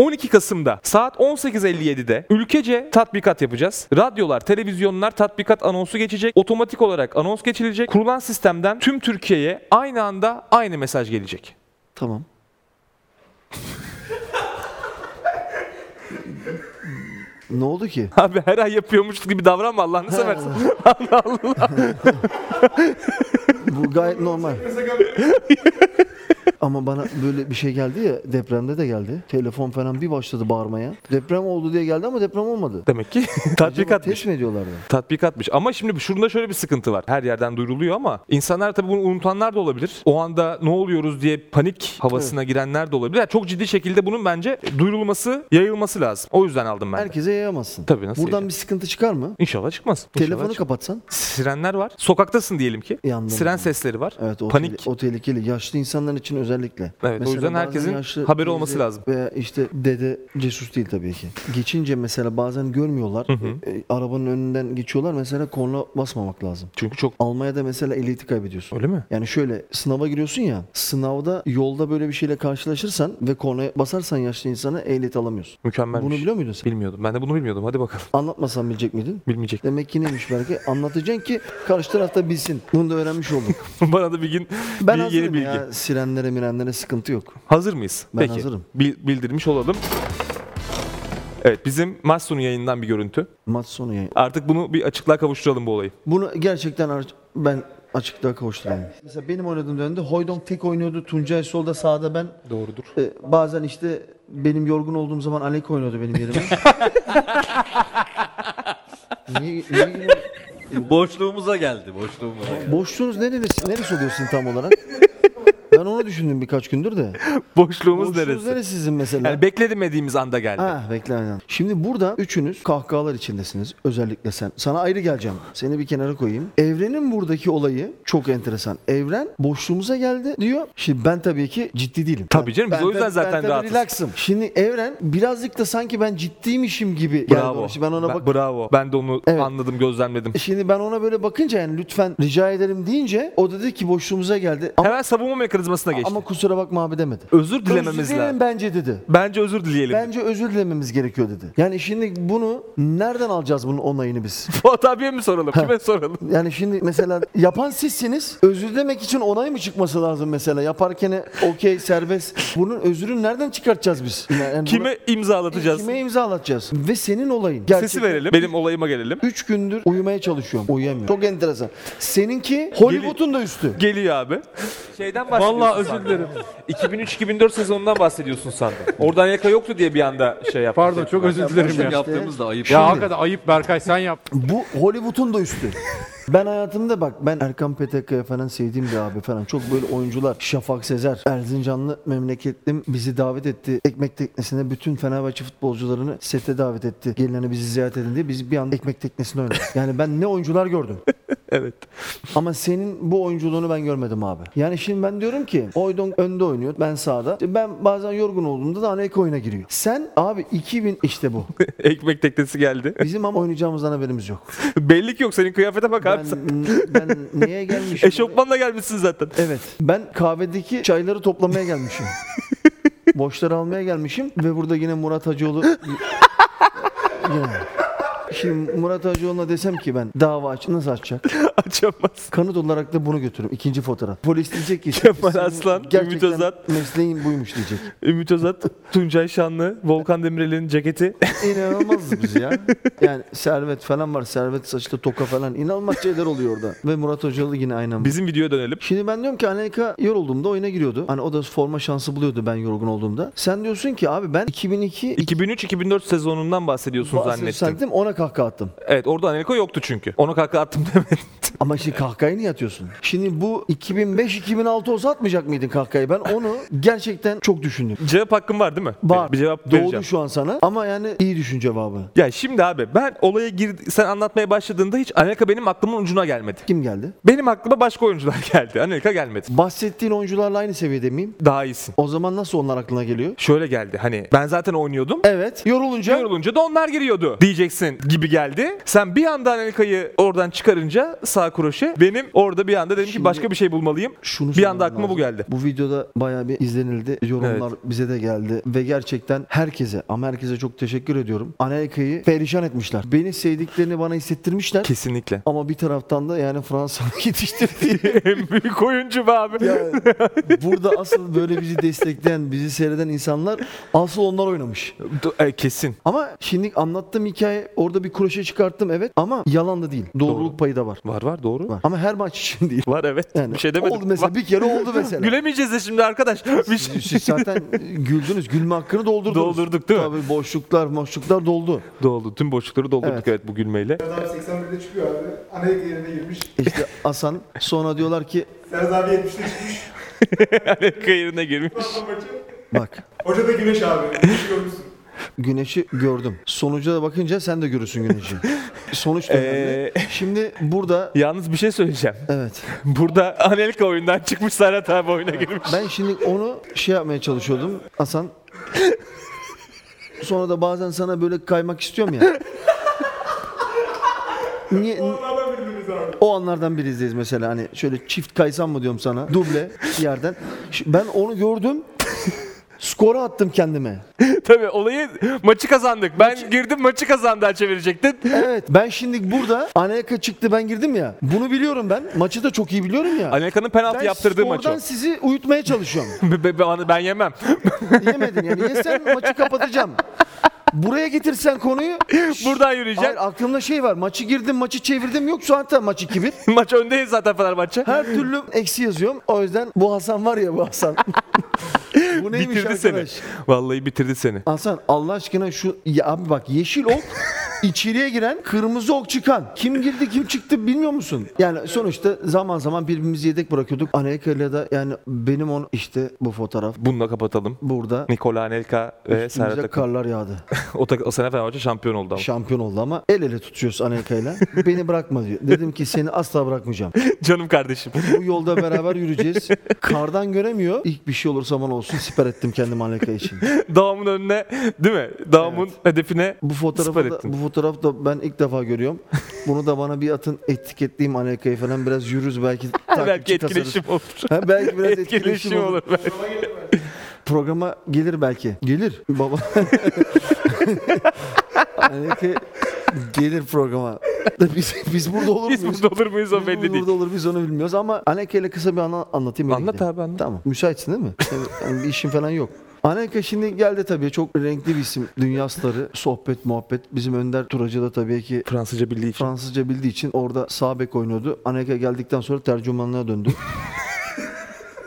A: 12 Kasım'da saat 18.57'de ülkece tatbikat yapacağız. Radyolar, televizyonlar tatbikat anonsu geçecek. Otomatik olarak anons geçilecek. Kurulan sistemden tüm Türkiye'ye aynı anda aynı mesaj gelecek.
B: Tamam. ne oldu ki?
A: Abi her ay yapıyormuş gibi davranma Allah'ını seversen.
B: Bu gayet normal. Ama bana böyle bir şey geldi ya depremde de geldi. Telefon falan bir başladı bağırmaya. Deprem oldu diye geldi ama deprem olmadı.
A: Demek ki
B: Acaba
A: tatbikatmış.
B: test mi ediyorlardı?
A: Tatbikatmış. Ama şimdi şurada şöyle bir sıkıntı var. Her yerden duyuruluyor ama insanlar tabii bunu unutanlar da olabilir. O anda ne oluyoruz diye panik havasına girenler de olabilir. Yani çok ciddi şekilde bunun bence duyurulması, yayılması lazım. O yüzden aldım ben. de.
B: Herkese yayamazsın.
A: Tabii, nasıl
B: Buradan
A: yayacağım?
B: bir sıkıntı çıkar mı?
A: İnşallah çıkmaz. İnşallah
B: Telefonu
A: çıkmaz.
B: kapatsan.
A: Sirenler var. Sokaktasın diyelim ki.
B: Yandım.
A: Siren sesleri var.
B: Evet o,
A: Panik.
B: tehl- o tehlikeli. Yaşlı insanlar için özellikle.
A: Evet, o yüzden
B: bazen
A: herkesin haberi olması
B: teyze
A: lazım.
B: Veya işte dede cesur değil tabii ki. Geçince mesela bazen görmüyorlar. E, e, arabanın önünden geçiyorlar. Mesela korna basmamak lazım.
A: Çünkü çok
B: Almanya'da mesela ehliyeti kaybediyorsun.
A: Öyle mi?
B: Yani şöyle sınava giriyorsun ya. Sınavda yolda böyle bir şeyle karşılaşırsan ve kornaya basarsan yaşlı insana ehliyet alamıyorsun.
A: mükemmel.
B: Bunu biliyor muydun sen?
A: Bilmiyordum. Ben de bunu bilmiyordum. Hadi bakalım.
B: Anlatmasan bilecek miydin?
A: Bilmeyecek.
B: Demek ki neymiş belki anlatacaksın ki karşı tarafta bilsin. Bunu da öğrenmiş olduk.
A: Bana da bir gün
B: Ben
A: bir
B: hazırım
A: yeni bilgi.
B: ya. Sirenlere mirenlere sıkıntı yok.
A: Hazır mıyız?
B: Ben
A: Peki.
B: hazırım.
A: Bil- bildirmiş olalım. Evet bizim maç sonu yayından bir görüntü.
B: Maç sonu yayın.
A: Artık bunu bir açıklığa kavuşturalım bu olayı.
B: Bunu gerçekten ar- ben açıklığa kavuşturayım. Mesela benim oynadığım dönemde Hoydonk tek oynuyordu. Tuncay solda sağda ben.
A: Doğrudur.
B: E, bazen işte benim yorgun olduğum zaman Alek oynuyordu benim yerime. niye, niye,
H: Boşluğumuza geldi, boşluğumuza.
B: boşluğunuz neresi, neresi oluyor sizin tam olarak? Ben onu düşündüm birkaç gündür de.
A: Boşluğumuz
B: Boşluğunuz
A: neresi?
B: neresi sizin mesela?
A: Yani beklemediğimiz anda geldi.
B: Ha bekle aynen. Şimdi burada üçünüz kahkahalar içindesiniz. Özellikle sen. Sana ayrı geleceğim. Seni bir kenara koyayım. Evrenin buradaki olayı çok enteresan. Evren boşluğumuza geldi diyor. Şimdi ben tabii ki ciddi değilim.
A: Tabii
B: Ben-
A: canım, biz
B: ben
A: o yüzden
B: tabii-
A: zaten
B: ben tabii
A: rahatız.
B: relaxım. Şimdi evren birazcık da sanki ben ciddiymişim gibi geldi
A: bravo.
B: ona. Şimdi ben ona bak.
A: bravo. Ben de onu
B: Evet.
A: anladım, gözlemledim.
B: Şimdi ben ona böyle bakınca yani lütfen rica ederim deyince o dedi ki boşluğumuza geldi. Ama,
A: Hemen savunma mekanizmasına geçti.
B: ama kusura bakma abi demedi.
A: şey özür dilememiz
B: Özür dilerim
A: lazım.
B: bence dedi.
A: Bence özür dileyelim.
B: Bence özür dilememiz gerekiyor dedi. Yani şimdi bunu nereden alacağız bunun onayını biz?
A: Fuat abiye mi soralım? Kime soralım?
B: Yani şimdi mesela yapan sizsiniz. Özür dilemek için onay mı çıkması lazım mesela? Yaparken okey serbest. Bunun özrünü nereden çıkartacağız biz? Yani bunu-
A: Kime imzalatacağız?
B: Kime imzalatacağız? Ve senin olayın.
A: Sesi verelim. Benim olayıma gelelim.
B: 3 gündür uyumaya çalışıyorum. Uyuyamıyorum. Çok enteresan. Seninki Hollywood'un da üstü.
A: Geliyor abi. Şeyden bahsediyorsun Vallahi özür dilerim. 2003-2004 sezonundan bahsediyorsun sandım. Oradan yaka yoktu diye bir anda şey yaptım.
D: Pardon çok özür dilerim Şey- ya.
H: Yaptığımız da ayıp.
D: Ya hakikaten ayıp Berkay sen yap.
B: Bu Hollywood'un da üstü. Ben hayatımda bak ben Erkan Petekkaya falan sevdiğim bir abi falan. Çok böyle oyuncular. Şafak Sezer, Erzincanlı memleketlim bizi davet etti. Ekmek teknesine bütün Fenerbahçe futbolcularını sete davet etti. Gelin hani bizi ziyaret edin diye biz bir anda ekmek teknesine oynadık. Yani ben ne oyuncular gördüm.
A: Evet.
B: Ama senin bu oyunculuğunu ben görmedim abi. Yani şimdi ben diyorum ki Oydon önde oynuyor ben sağda. İşte Ben bazen yorgun olduğumda da ana ek oyuna giriyor. Sen abi 2000 işte bu.
A: Ekmek teknesi geldi.
B: Bizim ama oynayacağımızdan haberimiz yok.
A: Belli ki yok senin kıyafete bak abi.
B: Ben,
A: sen.
B: ben niye gelmişim?
A: Eşofmanla gelmişsin zaten.
B: Evet. Ben kahvedeki çayları toplamaya gelmişim. Boşları almaya gelmişim ve burada yine Murat Hacıoğlu Yani. Şimdi Murat Hacıoğlu'na desem ki ben dava aç nasıl açacak?
A: Açamaz.
B: Kanıt olarak da bunu götürürüm. ikinci fotoğraf. Polis diyecek ki
A: Kemal
B: "Senin
A: Aslan, Ümit
B: gerçekten
A: Özat."
B: Mesleğin buymuş diyecek.
A: Ümit Özat, Tuncay Şanlı, Volkan Demirel'in ceketi.
B: İnanılmaz
A: şey
B: biz ya. Yani servet falan var. Servet saçlı toka falan. İnanılmaz şeyler oluyor orada. Ve Murat Hocalı yine aynen.
A: Bizim videoya dönelim.
B: Şimdi ben diyorum ki Anelka yorulduğumda oyuna giriyordu. Hani o da forma şansı buluyordu ben yorgun olduğumda. Sen diyorsun ki abi ben 2002
A: 2003-2004 sezonundan bahsediyorsun zannettim.
B: zannettim ona kahkaha attım.
A: Evet orada Anelko yoktu çünkü. Ona kaka attım demedim.
B: Ama şimdi kahkahayı niye atıyorsun? Şimdi bu 2005-2006 olsa atmayacak mıydın kahkahayı? Ben onu gerçekten çok düşündüm.
A: Cevap hakkım var değil mi?
B: Var.
A: Bir cevap vereceğim.
B: Doğdu şu an sana ama yani iyi düşün cevabı.
A: Ya şimdi abi ben olaya gir sen anlatmaya başladığında hiç Anelka benim aklımın ucuna gelmedi.
B: Kim geldi?
A: Benim aklıma başka oyuncular geldi. Anelka gelmedi.
B: Bahsettiğin oyuncularla aynı seviyede miyim?
A: Daha iyisin.
B: O zaman nasıl onlar aklına geliyor?
A: Şöyle geldi hani ben zaten oynuyordum.
B: Evet. Yorulunca
A: Yorulunca da onlar giriyordu diyeceksin gibi geldi. Sen bir anda Anelka'yı oradan çıkarınca sağ kroşe benim orada bir anda dedim ki
B: Şimdi
A: başka bir şey bulmalıyım.
B: şunu
A: bir anda
B: söylemem
A: aklıma bu
B: lazım.
A: geldi.
B: Bu videoda bayağı bir izlenildi. Yorumlar bize de geldi ve gerçekten herkese ama herkese çok teşekkür ediyorum. Anelka'yı perişan etmişler. Beni sevdiklerini bana hissettirmişler.
A: Kesinlikle.
B: Ama bir taraftan da yani Fransa'nın yetiştirdiği
A: en büyük oyuncu be abi.
B: yani burada asıl böyle bizi destekleyen, bizi seyreden insanlar asıl onlar oynamış.
A: Du- e, Kesin.
B: Ama şimdi anlattığım hikaye orada bir kroşe çıkarttım evet ama yalan da değil. Doğruluk payı da var.
A: Var var doğru. Var,
B: Ama her maç için değil.
A: evet.
B: Yani
A: bir şey demedim.
B: Oldu mesela
A: Var.
B: bir kere oldu mesela.
A: Gülemeyeceğiz de şimdi arkadaş. Bir şey-
B: Siz zaten e, güldünüz. Gülme hakkını doldurdunuz.
A: Doldurduk, değil mi?
B: Tabii boşluklar boşluklar doldu.
A: Doldu. Tüm boşlukları doldurduk
B: Evet.
A: evet, bu gülmeyle.
G: Adam 81'de çıkıyor abi. Anayaka yerine girmiş.
B: İşte Hasan sonra diyorlar ki
G: Serhat abi 70'de çıkmış.
A: Anelka yerine girmiş.
G: Trabzon maçı.
B: bak
G: Hoca da Güneş abi. Güneş görmüşsün.
B: güneşi gördüm. Sonuca da bakınca sen de görürsün güneşi. Sonuç da önemli.
A: Ee,
B: Şimdi burada
A: Yalnız bir şey söyleyeceğim.
B: evet.
A: Burada Anelka oyundan çıkmış Serhat abi oyuna girmiş.
B: Ben şimdi onu şey yapmaya çalışıyordum Hasan. Sonra da bazen sana böyle kaymak istiyorum ya. Niye,
G: Onlardan birbirimiz abi.
B: O anlardan birizdeyiz mesela hani şöyle çift kaysan mı diyorum sana duble yerden. Ş- Ben onu gördüm. Skora attım kendime.
A: Tabii olayı maçı kazandık. Ben girdim maçı kazandı çevirecektin.
B: Evet. Ben şimdi burada Anelka çıktı ben girdim ya. Bunu biliyorum ben. Maçı da çok iyi biliyorum ya.
A: Anelka'nın penaltı
B: ben
A: yaptırdığı maç o.
B: skordan sizi uyutmaya çalışıyorum.
A: Be- be- be- ben yemem.
B: Yemedin yani. Yesen maçı kapatacağım. Buraya getirsen konuyu.
A: Buradan yürüyeceğim.
B: Hayır aklımda şey var. Maçı girdim, maçı çevirdim. Yok zaten maç 2-1.
A: Maç öndeyiz zaten Fenerbahçe.
B: Her türlü eksi yazıyorum. O yüzden bu Hasan var ya bu Hasan. bu neymiş
A: bitirdi
B: arkadaş?
A: seni. Vallahi bitirdi seni.
B: Hasan Allah aşkına şu ya abi bak yeşil ok içeriye giren kırmızı ok çıkan. Kim girdi kim çıktı bilmiyor musun? Yani sonuçta zaman zaman birbirimizi yedek bırakıyorduk. Anelka'yla da yani benim onu işte bu fotoğraf
A: Bununla kapatalım.
B: burada
A: Nikola Anelka ve Serhat
B: üstümüze
A: Akın.
B: karlar yağdı.
A: O, tak- o sene Fenerbahçe şampiyon oldu ama.
B: Şampiyon oldu ama el ele tutuyoruz Anelka'yla. Beni bırakma diyor. Dedim ki seni asla bırakmayacağım.
A: Canım kardeşim.
B: Bu yolda beraber yürüyeceğiz. Kardan göremiyor. İlk bir şey olursa bana olsun siper ettim kendimi Anelka için.
A: Dağımın önüne değil mi? Dağımın hedefine
B: Bu
A: siper
B: fotoğrafı da,
A: ettin.
B: bu fotoğraf da ben ilk defa görüyorum. Bunu da bana bir atın etiketleyeyim Anelka'yı falan biraz yürürüz belki takipçi
A: Belki
B: kasarız.
A: etkileşim olur.
B: Ha, belki biraz etkileşim,
A: etkileşim
B: olur.
A: olur. belki.
B: Programa gelir belki. Gelir baba. Anelka gelir programa. Biz, biz burada olur
A: Biz
B: muyuz?
A: burada olur muyuz o
B: Biz
A: belli
B: burada
A: değil.
B: olur biz onu bilmiyoruz ama Anelka ile kısa bir anla, anlatayım. öyle
A: Anlat
B: gidelim.
A: abi, anlat.
B: Tamam. Müsaitsin değil mi? Şey, Yani bir işin falan yok. Anelka şimdi geldi tabii çok renkli bir isim. Dünya starı, sohbet, muhabbet. Bizim Önder Turacı da tabii ki
A: Fransızca bildiği için.
B: Fransızca bildiği için orada sağ bek oynuyordu. Anelka geldikten sonra tercümanlığa döndü.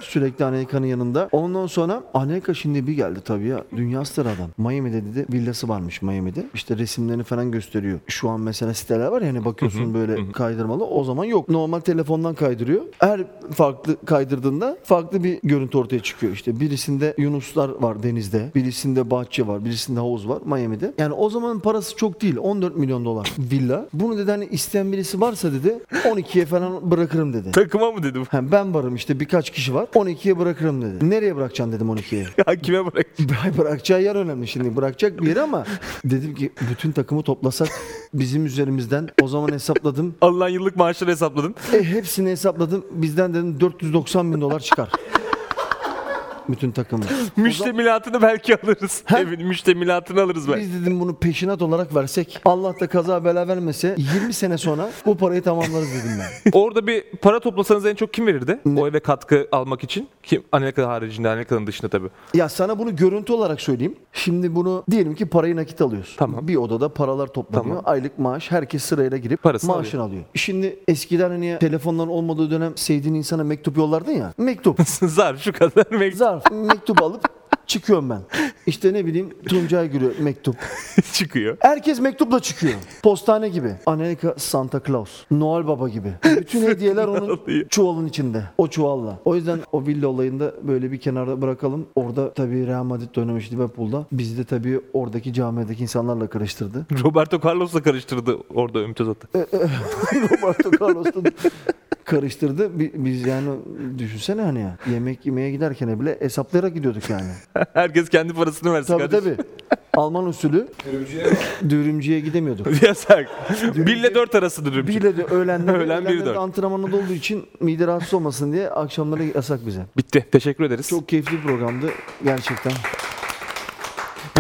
B: Sürekli Anelka'nın yanında. Ondan sonra Anelka şimdi bir geldi tabii ya. Dünya starı adam. Miami'de dedi villası varmış Miami'de. İşte resimlerini falan gösteriyor. Şu an mesela siteler var ya hani bakıyorsun böyle kaydırmalı. O zaman yok. Normal telefondan kaydırıyor. Her farklı kaydırdığında farklı bir görüntü ortaya çıkıyor. İşte birisinde Yunuslar var denizde. Birisinde bahçe var. Birisinde havuz var Miami'de. Yani o zamanın parası çok değil. 14 milyon dolar villa. Bunu dedi hani isteyen birisi varsa dedi 12'ye falan bırakırım dedi.
A: Takıma mı dedim?
B: Ha, ben varım işte birkaç kişi var. 12'ye bırakırım dedi. Nereye bırakacaksın dedim 12'ye.
A: Hakime bırak.
B: Bıra- Bırakacağı yer önemli şimdi. Bırakacak bir yer ama dedim ki bütün takımı toplasak bizim üzerimizden o zaman hesapladım.
A: Alınan yıllık maaşları hesapladın.
B: E, hepsini hesapladım. Bizden dedim 490 bin dolar çıkar. bütün takımı.
A: Müştemilatını belki alırız. Evin müştemilatını alırız belki.
B: Biz dedim bunu peşinat olarak versek Allah da kaza bela vermese 20 sene sonra bu parayı tamamlarız dedim ben.
A: Orada bir para toplasanız en çok kim verirdi? O eve katkı almak için. Kim? Anelka haricinde, Anelka'nın dışında tabii.
B: Ya sana bunu görüntü olarak söyleyeyim. Şimdi bunu diyelim ki parayı nakit alıyorsun.
A: Tamam.
B: Bir odada paralar toplanıyor.
A: Tamam.
B: Aylık maaş herkes sırayla girip
A: Parasını
B: maaşını alıyor. Şimdi eskiden hani telefonların olmadığı dönem sevdiğin insana mektup yollardın ya. Mektup.
A: Zar şu kadar. Belki
B: Zarf. mektup alıp çıkıyorum ben. İşte ne bileyim Tuncay Gür'e mektup.
A: çıkıyor.
B: Herkes mektupla çıkıyor. Postane gibi. Amerika Santa Claus. Noel Baba gibi. Bütün hediyeler onun
A: alıyor.
B: çuvalın içinde. O çuvalla. O yüzden o villa olayında böyle bir kenarda bırakalım. Orada tabii Real Madrid oynamış Liverpool'da. Bizi de tabii oradaki camiadaki insanlarla karıştırdı.
A: Roberto Carlos'la karıştırdı orada Ümit Özat'ı.
B: Roberto Carlos'ta karıştırdı. Bi- Biz yani düşünsene hani ya. Yemek yemeye giderken bile hesaplayarak gidiyorduk yani.
A: Herkes kendi parasını versin
B: Tabii
A: kardeşim.
B: tabii. Alman usulü dürümcüye gidemiyorduk.
A: Yasak. 1 ile 4 arasıdır Ümit.
B: Bir de öğlenleri,
A: Öğlen
B: öğlenleri
A: bir
B: de
A: dört.
B: antrenmanında olduğu için mide rahatsız olmasın diye akşamları yasak bize.
A: Bitti. Teşekkür ederiz.
B: Çok keyifli bir programdı gerçekten.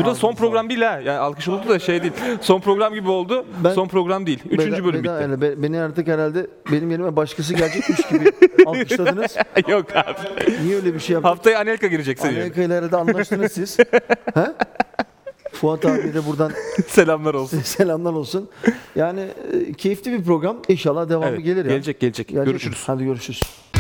A: Bu da son program değil ha. Yani alkış oldu da şey değil. Son program gibi oldu.
B: Ben-
A: son program değil. Üçüncü
B: Veda-
A: bölüm
B: veda-
A: bitti.
B: yani be- beni artık herhalde benim yerime başkası gelecekmiş gibi alkışladınız.
A: Yok abi.
B: Niye öyle bir şey yaptınız?
A: Haftaya Anelka girecek senin. yerine.
B: Amerika ile herhalde anlaştınız siz. ha? Fuat abiye de buradan
A: Selamlar olsun.
B: selamlar olsun. Yani e, keyifli bir program. İnşallah devamı
A: Evet,
B: gelir ya.
A: Gelecek gelecek.
B: Gelecek mi?
A: Görüşürüz.
B: Hadi görüşürüz.